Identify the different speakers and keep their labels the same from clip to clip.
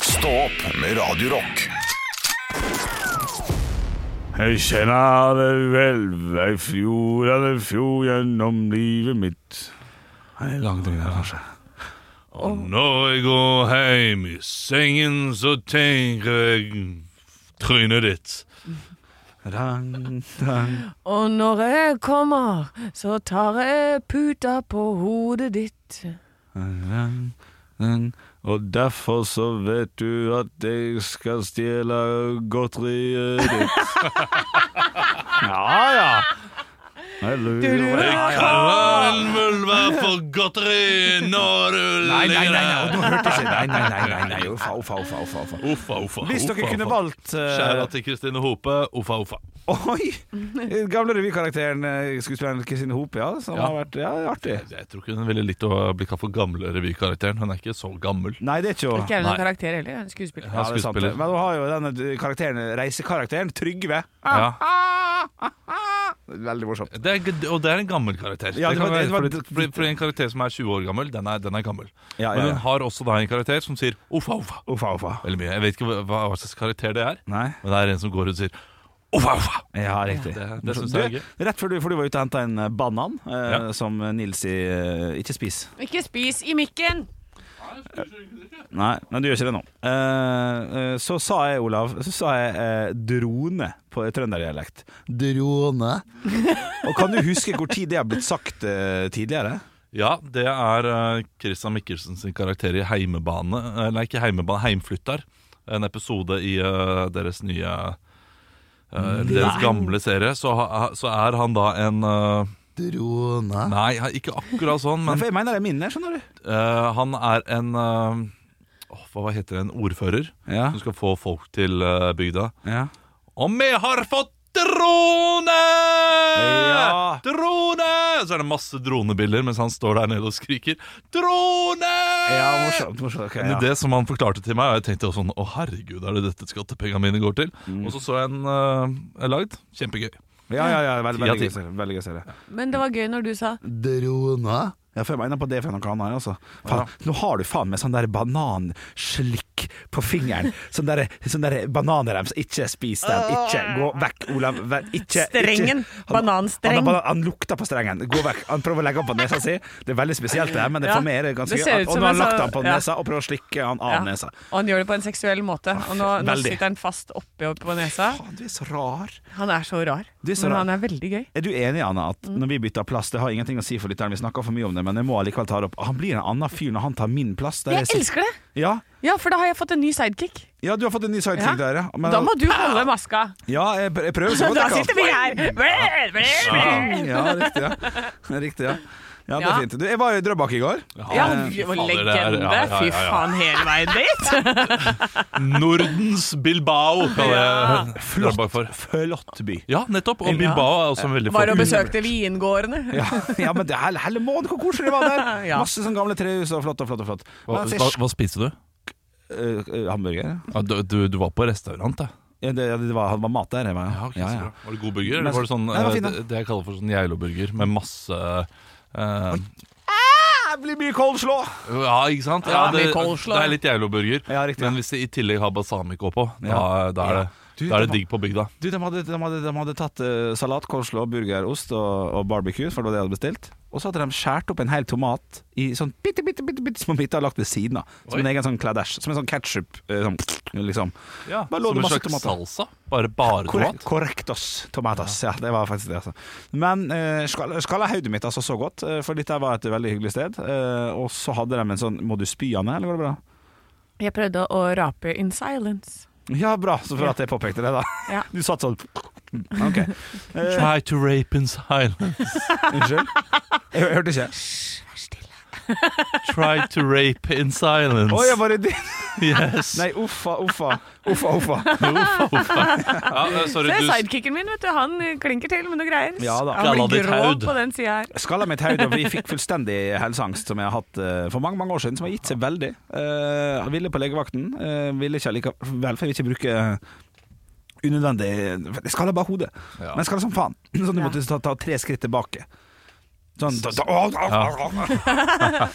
Speaker 1: Stå opp med Radio Rock.
Speaker 2: Jeg kjenner det vel, ei fjord er det fjord gjennom livet mitt. Nei, langt inn der, kanskje.
Speaker 3: Og når jeg går hjem i sengen, så tenker jeg trynet ditt.
Speaker 2: Rang, rang.
Speaker 4: Og når jeg kommer, så tar jeg puta på hodet ditt.
Speaker 2: Og derfor så vet du at jeg skal stjele godteriet ditt. ja ja. Jeg lurer.
Speaker 3: Kan vulva for godteri når du
Speaker 2: Ah. Nei, nei, nei, nei,
Speaker 3: ligger
Speaker 2: nå hørtes jeg Nei, nei, nei. nei, nei. Uffa, uffa, uffa, uffa, uffa.
Speaker 3: der. Uffa, uffa,
Speaker 2: Hvis dere
Speaker 3: uffa,
Speaker 2: kunne
Speaker 3: uffa.
Speaker 2: valgt eh,
Speaker 3: Kjære til Kristine Hope, uffa, uffa.
Speaker 2: Oi! Gamle revykarakteren, eh, skuespilleren Kristine Hope, ja. Som
Speaker 3: Ja.
Speaker 2: har vært ja, artig.
Speaker 3: Jeg tror ikke hun ville likt å bli kalt for gamle revykarakteren. Hun er ikke så gammel.
Speaker 2: Nei, det er ikke
Speaker 4: Ikke er
Speaker 2: henne.
Speaker 3: Nei.
Speaker 4: det noen karakter heller, jeg er en skuespiller.
Speaker 2: Ja, det er sant.
Speaker 3: skuespiller.
Speaker 2: Men hun har jo denne eh, karakteren, reisekarakteren Trygve.
Speaker 3: Ja.
Speaker 2: Veldig morsomt.
Speaker 3: Det er, og det er en gammel karakter.
Speaker 2: Ja,
Speaker 3: det kan
Speaker 2: det var-
Speaker 3: være,
Speaker 2: det var-
Speaker 3: fordi, fordi, fordi En karakter som er 20 år gammel, den er, den er gammel.
Speaker 2: Ja,
Speaker 3: Men
Speaker 2: ja,
Speaker 3: hun
Speaker 2: ja.
Speaker 3: har også da en karakter som sier uffa, uffa.
Speaker 2: Uffa, uffa.
Speaker 3: Veldig mye. Jeg vet ikke hva, hva hva slags karakter det er,
Speaker 2: Nei.
Speaker 3: men det er en som går rundt og sier uffa, uffa.
Speaker 2: Ja, riktig.
Speaker 3: Det, det synes jeg er
Speaker 2: Du,
Speaker 3: gøy.
Speaker 2: Rett før du, for du var ute og henta en eh, banan, eh,
Speaker 3: Ja.
Speaker 2: som Nils sier eh, ikke spis.
Speaker 4: Ikke spis i mikken!
Speaker 2: Nei, men du gjør ikke det nå. Eh, eh, så sa jeg, Olav, så sa jeg eh, drone på trønderdialekt. Drone. Og kan du huske hvor tid det har blitt sagt eh, tidligere?
Speaker 3: Ja, det er eh, Christian Mikkelsen sin karakter i Heimebane eh, Nei, ikke Heimebane, Heimflyttar. En episode i eh, deres nye eh, Deres gamle serie. Så, ha- så er han da en eh,
Speaker 2: Drone. Nei,
Speaker 3: Nei, ikke akkurat sånn, men
Speaker 2: for jeg mener det er min, jeg, skjønner du.
Speaker 3: Eh, han er en eh, åh, Hva heter det? En ordfører
Speaker 2: Ja.
Speaker 3: som skal få folk til eh, bygda.
Speaker 2: ja.
Speaker 3: Og vi har fått drone!
Speaker 2: Ja.
Speaker 3: Drone! Så er det masse dronebilder mens han står der nede og skriker 'drone'!
Speaker 2: Ja, morsomt. morsomt ok,
Speaker 3: En
Speaker 2: ja.
Speaker 3: idé som han forklarte til meg, og jeg tenkte jo sånn 'Å, herregud, er det dette skattepengene mine går til?' Og så så jeg en eh, lagd. Kjempegøy.
Speaker 2: ja, ja, ja veldig,
Speaker 3: Ti av ti.
Speaker 2: veldig, gøy serie, veldig gøy serie.
Speaker 4: Men det var gøy når du sa
Speaker 2: Drone. Ja, for jeg mener på det for noe annet, altså. Faen, Nå har du faen meg sånn der bananslikk på fingeren. Sånn der, sånn der bananrems. Ikke spis den. Ikke gå vekk, Olav. Vær- Ikke,
Speaker 4: Strengen.
Speaker 2: Ikke. Han-
Speaker 4: Bananstreng.
Speaker 2: Han, har banan- han lukter på strengen. Gå vekk. Han prøver å legge den på nesa si. Det er veldig spesielt, det her, men det
Speaker 4: Ja,
Speaker 2: for meg er det ganske
Speaker 4: det
Speaker 2: gøy.
Speaker 4: ser
Speaker 2: at-
Speaker 4: ut
Speaker 2: Og
Speaker 4: som
Speaker 2: nå har
Speaker 4: en
Speaker 2: han lagt
Speaker 4: sånn-
Speaker 2: den på
Speaker 4: ja.
Speaker 2: nesa og prøver å slikke han av
Speaker 4: Ja.
Speaker 2: nesa.
Speaker 4: Og han gjør det på en seksuell måte. Og nå, nå
Speaker 2: veldig.
Speaker 4: sitter han fast oppi opp på nesa.
Speaker 2: Faen, du er så rar.
Speaker 4: Han er så rar,
Speaker 2: Du er så
Speaker 4: men
Speaker 2: rar.
Speaker 4: han er veldig gøy.
Speaker 2: Er du enig, Anna, at
Speaker 4: Mm.
Speaker 2: når vi bytter plass Det har ingenting å si for lytteren, vi snakker for mye om det, men jeg må allikevel ta det opp. Ah, Han blir en annen fyr når han tar min plass. Der
Speaker 4: Jeg elsker det!
Speaker 2: Ja,
Speaker 4: Ja, for da har jeg fått en ny sidekick.
Speaker 2: Ja, du har fått en ny sidekick
Speaker 4: Ja.
Speaker 2: der, ja. Men-
Speaker 4: Da må du holde maska.
Speaker 2: ja, jeg, pr- jeg prøver så godt
Speaker 4: Da
Speaker 2: jeg kan.
Speaker 4: sitter vi her!
Speaker 2: Ja, riktig, ja. Riktig, ja. ja det er
Speaker 4: Ja.
Speaker 2: fint. Du, jeg var jo i Drøbak i går.
Speaker 4: Ja,
Speaker 3: Eh,
Speaker 4: vi-
Speaker 3: fader, det er-
Speaker 4: legende.
Speaker 3: ja, ja,
Speaker 4: Fy
Speaker 3: ja, ja.
Speaker 4: faen, hele veien dit!
Speaker 3: Nordens Bilbao, kaller jeg
Speaker 2: Flott.
Speaker 3: Drøbak for.
Speaker 2: Flott by.
Speaker 3: Ja, nettopp. Og Bilbao er også en veldig
Speaker 4: Var og
Speaker 3: flott by.
Speaker 4: besøkte vingårdene.
Speaker 2: Ja, ja men det er helle måned, hvor koselig det var der!
Speaker 4: Ja.
Speaker 2: Masse sånn gamle trehus og flott og flott og flott.
Speaker 3: Hva,
Speaker 2: Men
Speaker 3: hva,
Speaker 2: fisk-
Speaker 3: hva spiste du?
Speaker 2: øh, øh, hamburger? ja.
Speaker 3: Ja, du, du, du var på restaurant, da.
Speaker 2: Ja, det, ja, det var, det var mat der. Jeg var,
Speaker 3: Ja, ok,
Speaker 2: ja,
Speaker 3: så
Speaker 2: ja.
Speaker 3: bra. Var det god burger?
Speaker 2: Men-
Speaker 3: Eller var det sånn,
Speaker 2: Nei, det var
Speaker 3: eh,
Speaker 2: fin, da.
Speaker 3: det, det jeg kaller for sånn Geilo-burger med masse eh,
Speaker 2: Det blir mye coleslå!
Speaker 3: Ja, ikke sant?
Speaker 4: Ja,
Speaker 3: det,
Speaker 4: med coleslaw.
Speaker 3: det er litt Geilo-burger.
Speaker 2: Ja, riktig,
Speaker 3: Men hvis det i tillegg har balsamico på, da,
Speaker 2: Ja.
Speaker 3: da, er det,
Speaker 2: Du,
Speaker 3: da er
Speaker 2: det
Speaker 3: det digg på bygda.
Speaker 2: Du, de hadde, de hadde, de hadde tatt eh, salat, coleslaw, burger, ost og, og barbecue, for det var det jeg hadde bestilt. Og så hadde de skåret opp en hel tomat i sånn bitte, bitte, bitte, bitte små biter og lagt ved siden av.
Speaker 3: Oi.
Speaker 2: Som en egen sånn kladæsj. Som en sånn ketsjup, sånn, liksom.
Speaker 3: Ja,
Speaker 2: Bare lå
Speaker 3: som
Speaker 2: det
Speaker 3: en
Speaker 2: masse
Speaker 3: slags
Speaker 2: tomater.
Speaker 3: salsa. Bare bare
Speaker 2: Korrekt,
Speaker 3: tomat.
Speaker 2: korrektos tomatas. Ja, det var faktisk det, altså. Men eh, skala skala hodet mitt altså så godt, eh, for dette var et veldig hyggelig sted. Eh, og så hadde de en sånn Må du spy av meg, eller går det bra?
Speaker 4: Jeg prøvde å rape in silence.
Speaker 2: Ja, bra, så for at jeg påpekte det, da.
Speaker 4: Ja.
Speaker 2: Du satt sånn OK. Eh,
Speaker 3: Try to rape in silence.
Speaker 2: unnskyld? Jeg, jeg hørte ikke.
Speaker 3: Try to rape in silence.
Speaker 2: Å, jeg var i
Speaker 3: Yes.
Speaker 2: Nei, uffa, uffa, uffa, uffa.
Speaker 3: Ja, eh, sorry,
Speaker 4: Se
Speaker 3: du
Speaker 4: sidekicken min, vet du. Han eh, klinker til med noe greier.
Speaker 2: Ja da.
Speaker 3: Galla
Speaker 4: Han blir
Speaker 3: ditt
Speaker 4: grå
Speaker 3: haud.
Speaker 4: på den sida her.
Speaker 2: Skalla mitt hode, og vi fikk fullstendig helseangst som jeg har hatt eh, for mange mange år siden, som har gitt seg veldig. Eh, jeg ville på legevakten, eh, ville ikke likevel, for jeg vil ikke bruke unødvendig Jeg skalla bare hodet,
Speaker 3: Ja.
Speaker 2: men jeg skalla som faen. Sånn du
Speaker 4: Ja.
Speaker 2: måtte ta, ta tre skritt tilbake. Sånn da, da, å, å, å,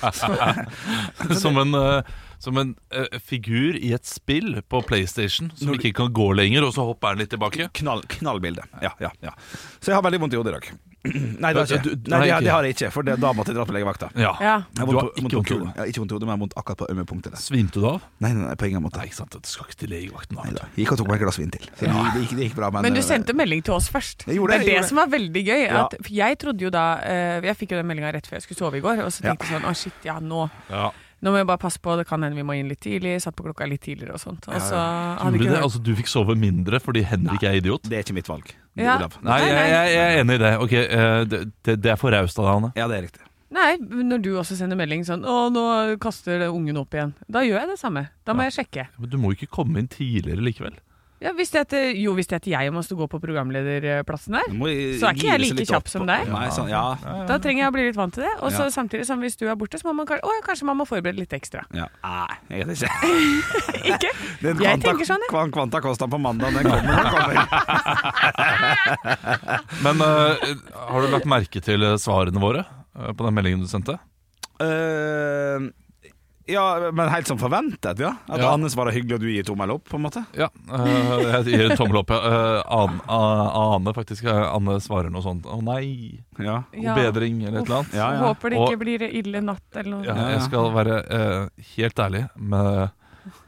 Speaker 2: å.
Speaker 3: som en eh, som en eh, figur i et spill på PlayStation som ikke kan gå lenger, og så hopper han litt tilbake.
Speaker 2: Knall, knallbilde. Ja, ja, ja. Så jeg har veldig vondt i hodet i dag. Nei, det har jeg
Speaker 3: Du-
Speaker 2: ikke.
Speaker 3: du- nei,
Speaker 2: Nei, det, har-
Speaker 3: ikke.
Speaker 2: det har jeg ikke, for det, da måtte jeg dra på legevakta.
Speaker 3: Ja.
Speaker 4: Ja.
Speaker 2: Jeg har
Speaker 3: Du
Speaker 2: vondt
Speaker 3: har ikke
Speaker 2: på-
Speaker 3: vondt
Speaker 2: vondt
Speaker 3: i
Speaker 2: på hodet.
Speaker 3: hodet.
Speaker 2: Jeg har ikke vondt i hodet, men jeg har vondt akkurat på ømme punktet. der.
Speaker 3: Svimte du av?
Speaker 2: Nei, nei, nei, på ingen måte.
Speaker 3: Nei, ikke sant, du skal ikke til legevakten.
Speaker 2: Nei
Speaker 3: da.
Speaker 2: da. Gikk og tok meg et glass vin til. Så det, gikk, det gikk bra, men eh,
Speaker 4: Men du sendte melding til oss først.
Speaker 2: Jeg gjorde
Speaker 4: er det
Speaker 2: det, jeg gjorde det.
Speaker 4: som var veldig gøy.
Speaker 2: Ja.
Speaker 4: At for jeg trodde jo da eh, Jeg fikk jo den meldinga rett før jeg skulle sove i går, og så
Speaker 2: Ja.
Speaker 4: tenkte jeg sånn Å, shit, ja, nå.
Speaker 3: Ja.
Speaker 4: Nå må jeg bare passe på, det kan hende vi må inn litt tidlig. Satt på klokka litt tidligere og sånt. Og så hadde
Speaker 3: Gjorde
Speaker 4: ikke
Speaker 3: det?
Speaker 4: hørt.
Speaker 3: Altså, du fikk sove mindre fordi Henrik er idiot?
Speaker 2: Det er ikke mitt valg. Det er
Speaker 4: Ja.
Speaker 2: Olav.
Speaker 3: Nei,
Speaker 4: Nei,
Speaker 3: jeg,
Speaker 4: nei.
Speaker 3: jeg, jeg er enig i det. Ok, eh, det, det, det er for raust av deg, Anne.
Speaker 2: Ja, det er riktig.
Speaker 4: Nei, når du også sender melding sånn Å, nå kaster det ungen opp igjen. Da gjør jeg det samme. Da må
Speaker 3: Ja.
Speaker 4: jeg sjekke.
Speaker 3: Men du må jo ikke komme inn tidligere likevel.
Speaker 4: Ja, visste jeg at, eh, jo, visste jeg at jeg måtte gå på programlederplassen der?
Speaker 2: Du må gi-
Speaker 4: Så er ikke jeg
Speaker 2: gire seg
Speaker 4: like
Speaker 2: litt
Speaker 4: kjapp
Speaker 2: opp.
Speaker 4: som deg?
Speaker 2: Nei, sånn, ja.
Speaker 4: Da trenger jeg å bli litt vant til det. Og så
Speaker 2: Ja.
Speaker 4: samtidig som hvis du er borte, så må man kanskje Å ja, kanskje man må forberede litt ekstra.
Speaker 2: ja. Nei, jeg vet ikke.
Speaker 4: Ikke? Jeg
Speaker 2: Den kvanta,
Speaker 4: tenker sånn, jeg.
Speaker 2: kvan- kvanta Kosta på mandag, den kommer. Den kommer.
Speaker 3: Men eh, har du lagt merke til eh, svarene våre eh, på den meldingen du sendte?
Speaker 2: Eh, ja, men helt som forventet, ja. At
Speaker 3: Ja.
Speaker 2: Anne svarer hyggelig, og du gir tommel opp, på en måte.
Speaker 3: Ja, eh, jeg gir en tommel opp. ja. Eh, An- A- Ane, faktisk. eh, Anne svarer noe sånt. Å nei,
Speaker 2: Ja.
Speaker 3: god
Speaker 4: Ja.
Speaker 3: bedring, eller et eller annet.
Speaker 2: Ja, ja.
Speaker 4: Håper det
Speaker 3: Og-
Speaker 4: ikke blir ille natt eller noe.
Speaker 3: Ja,
Speaker 2: Ja, ja.
Speaker 3: jeg skal være eh, helt ærlig med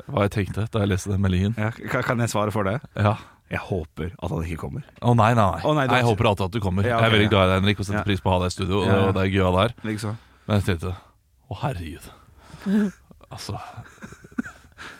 Speaker 3: hva jeg tenkte da jeg leste den meldingen.
Speaker 2: Ja, ka- Kan jeg svare for det?
Speaker 3: Ja.
Speaker 2: Jeg håper at han ikke kommer.
Speaker 3: Å nei, nei, nei.
Speaker 2: Å, nei, du-
Speaker 3: jeg håper alltid at du kommer.
Speaker 2: Ja, ok,
Speaker 3: jeg er veldig
Speaker 2: ja.
Speaker 3: glad i deg, Henrik, og setter
Speaker 2: Ja.
Speaker 3: pris på å ha deg i studio. Og,
Speaker 2: Ja, ja.
Speaker 3: og det er gøy å ha deg her.
Speaker 2: Liksom.
Speaker 3: Men jeg tenkte å herregud. Altså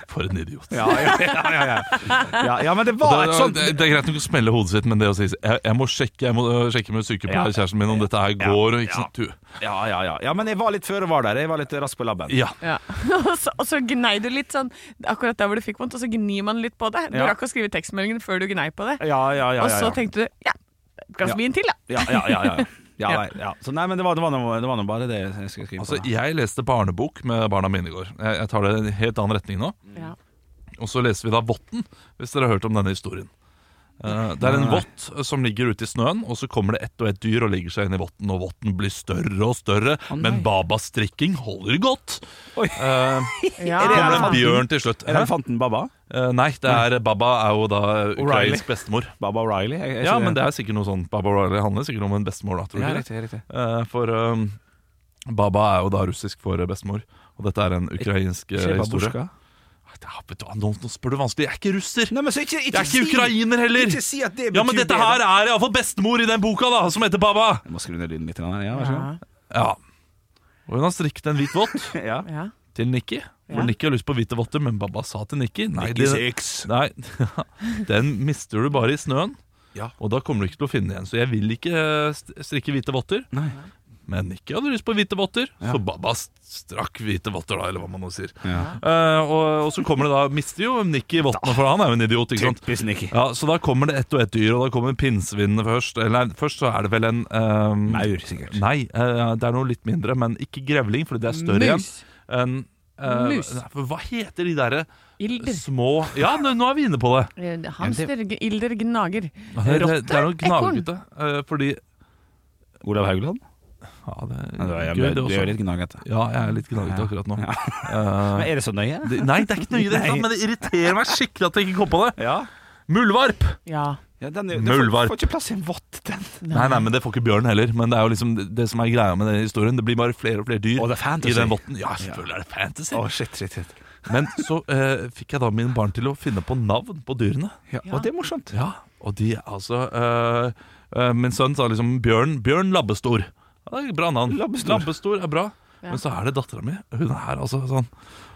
Speaker 3: For en idiot.
Speaker 2: Ja, ja, ja, ja, ja. ja, ja men det
Speaker 3: Og
Speaker 2: var et
Speaker 3: Det,
Speaker 2: sånt
Speaker 3: det, det er greit nok å smelle hodet sitt, men det å si jeg, jeg må sjekke Jeg må øh, sjekke med sykepleierkjæresten min om dette her går. og Ikke
Speaker 2: Ja.
Speaker 3: sant? Du,
Speaker 2: Ja, ja, ja. ja men jeg var litt føre var der. Jeg var litt rask på labben.
Speaker 3: ja.
Speaker 4: Ja. og, så, og så gnei du litt sånn akkurat der hvor du fikk vondt, og så gnir man litt på det. Du
Speaker 2: Ja.
Speaker 4: rakk å skrive tekstmeldingen før du gnei på det.
Speaker 2: Ja, ja, ja,
Speaker 4: og
Speaker 2: ja,
Speaker 4: så
Speaker 2: ja.
Speaker 4: tenkte du ja, et glass
Speaker 2: Ja.
Speaker 4: vin til, da.
Speaker 2: Ja, ja, ja, ja. ja, nei, ja. Så nei, men det var, det var, noe, det var noe bare det jeg skulle skrive
Speaker 3: Altså,
Speaker 2: på. da.
Speaker 3: jeg leste barnebok med barna mine i går. Jeg, jeg tar det i en helt annen retning nå.
Speaker 4: Ja.
Speaker 3: Og så leser vi da votten, hvis dere har hørt om denne historien. Eh, Det er en
Speaker 2: Nei.
Speaker 3: vått som ligger ute i snøen, og så kommer det ett og ett dyr og legger seg inn i votten, og votten blir større og større, men Babas strikking holder godt.
Speaker 2: Oi.
Speaker 3: Eh,
Speaker 4: Ja.
Speaker 2: Er
Speaker 3: kommer
Speaker 2: det
Speaker 3: det en
Speaker 2: elefanten?
Speaker 3: bjørn til slutt.
Speaker 2: Er det Mm. elefanten Baba?
Speaker 3: Eh, nei, det er Baba er jo da ukrainsk bestemor.
Speaker 2: Baba O'Reilly? Er- er
Speaker 3: Ja,
Speaker 2: ikke
Speaker 3: men det er sikkert noe sånn Baba O'Reilly handler sikkert om en bestemor, da, tror
Speaker 2: Ja,
Speaker 3: du ikke?
Speaker 2: riktig, riktig.
Speaker 3: det? Eh, For eh, Baba er jo da russisk for bestemor, og dette er en ukrainsk eh, historie.
Speaker 2: Babushka?
Speaker 3: Ja, vet du hva, nå, nå spør du vanskelig. Jeg er ikke russer!
Speaker 2: Nei, men så ikke, ikke
Speaker 3: Jeg er ikke ukrainer heller!
Speaker 2: Ikke si at det
Speaker 3: Ja, men
Speaker 2: betyr
Speaker 3: dette
Speaker 2: det,
Speaker 3: her
Speaker 2: da.
Speaker 3: er iallfall bestemor i den boka, da, som heter Baba!
Speaker 2: Jeg må skru ned lyden litt. grann her, Ja, vær så
Speaker 4: Ja.
Speaker 2: god.
Speaker 3: Ja. Og hun har strikket en hvit vott
Speaker 2: Ja.
Speaker 4: Ja.
Speaker 3: til Nikki. For
Speaker 4: Ja.
Speaker 3: Nikki har lyst på hvite votter, men Baba sa til Nikki Nei,
Speaker 2: Ikke
Speaker 3: det,
Speaker 2: sex.
Speaker 3: nei den mister du bare i snøen.
Speaker 2: Ja.
Speaker 3: Og da kommer du ikke til å finne igjen. Så jeg vil ikke eh, st- strikke hvite votter.
Speaker 2: Nei.
Speaker 3: Men Nikki hadde lyst på hvite votter,
Speaker 2: Ja.
Speaker 3: så Baba st- strakk hvite votter, da, eller hva man nå sier.
Speaker 2: Ja.
Speaker 3: Eh, og, og så kommer det da Mister jo Nikki vottene, for han er jo en idiot, ikke sant?
Speaker 2: Typisk Nikki.
Speaker 3: Ja, Så da kommer det ett og ett dyr, og da kommer pinnsvinene først. Eller nei, først så er det vel en ehm,
Speaker 2: Maur, sikkert.
Speaker 3: Nei, eh, det er noe litt mindre, men ikke grevling, fordi det er større igjen.
Speaker 4: Mus.
Speaker 3: En, eh,
Speaker 4: Mus.
Speaker 3: nei, for Hva heter de derre
Speaker 4: Ilder.
Speaker 3: små Ja, nå, nå er vi inne på det!
Speaker 4: Eh, Hamster. g- Ilder. Gnager.
Speaker 3: Det, det, det er noe
Speaker 4: Ekorn.
Speaker 3: gnagete. eh, fordi
Speaker 2: Olav Haugland?
Speaker 3: Ja, det
Speaker 2: Ja,
Speaker 3: er
Speaker 2: det er-
Speaker 3: gøy,
Speaker 2: det
Speaker 3: det
Speaker 2: gjør
Speaker 3: også.
Speaker 2: litt gnagete.
Speaker 3: Ja, jeg er litt gnagete
Speaker 2: Ja.
Speaker 3: akkurat nå.
Speaker 2: Men
Speaker 3: Eh,
Speaker 2: er det så nøye?
Speaker 3: det, nei, det er ikke nøye, i det, hele tatt, men det irriterer meg skikkelig at jeg ikke kom på det.
Speaker 2: Ja.
Speaker 3: Muldvarp!
Speaker 4: Ja.
Speaker 2: ja den, er- den
Speaker 3: Muldvarp.
Speaker 2: får, får ikke plass i en vott, den.
Speaker 3: Nei, nei, men det får ikke bjørn heller. Men det er jo liksom det, det som er greia med den historien. Det blir bare flere og flere dyr
Speaker 2: Og det er fantasy.
Speaker 3: i den votten. Ja, selvfølgelig er det fantasy.
Speaker 2: Å, shit, shit, shit.
Speaker 3: Men så eh, fikk jeg da mine barn til å finne på navn på dyrene.
Speaker 2: Ja.
Speaker 4: Ja.
Speaker 2: Og det er morsomt.
Speaker 3: Ja, og de altså eh, eh, Min sønn sa liksom Bjørn, Bjørn Labbestor. Ja, det er et bra navn.
Speaker 2: Labbestor.
Speaker 3: Labbestor er bra.
Speaker 4: Ja.
Speaker 3: Men så er det dattera mi. Hun er altså sånn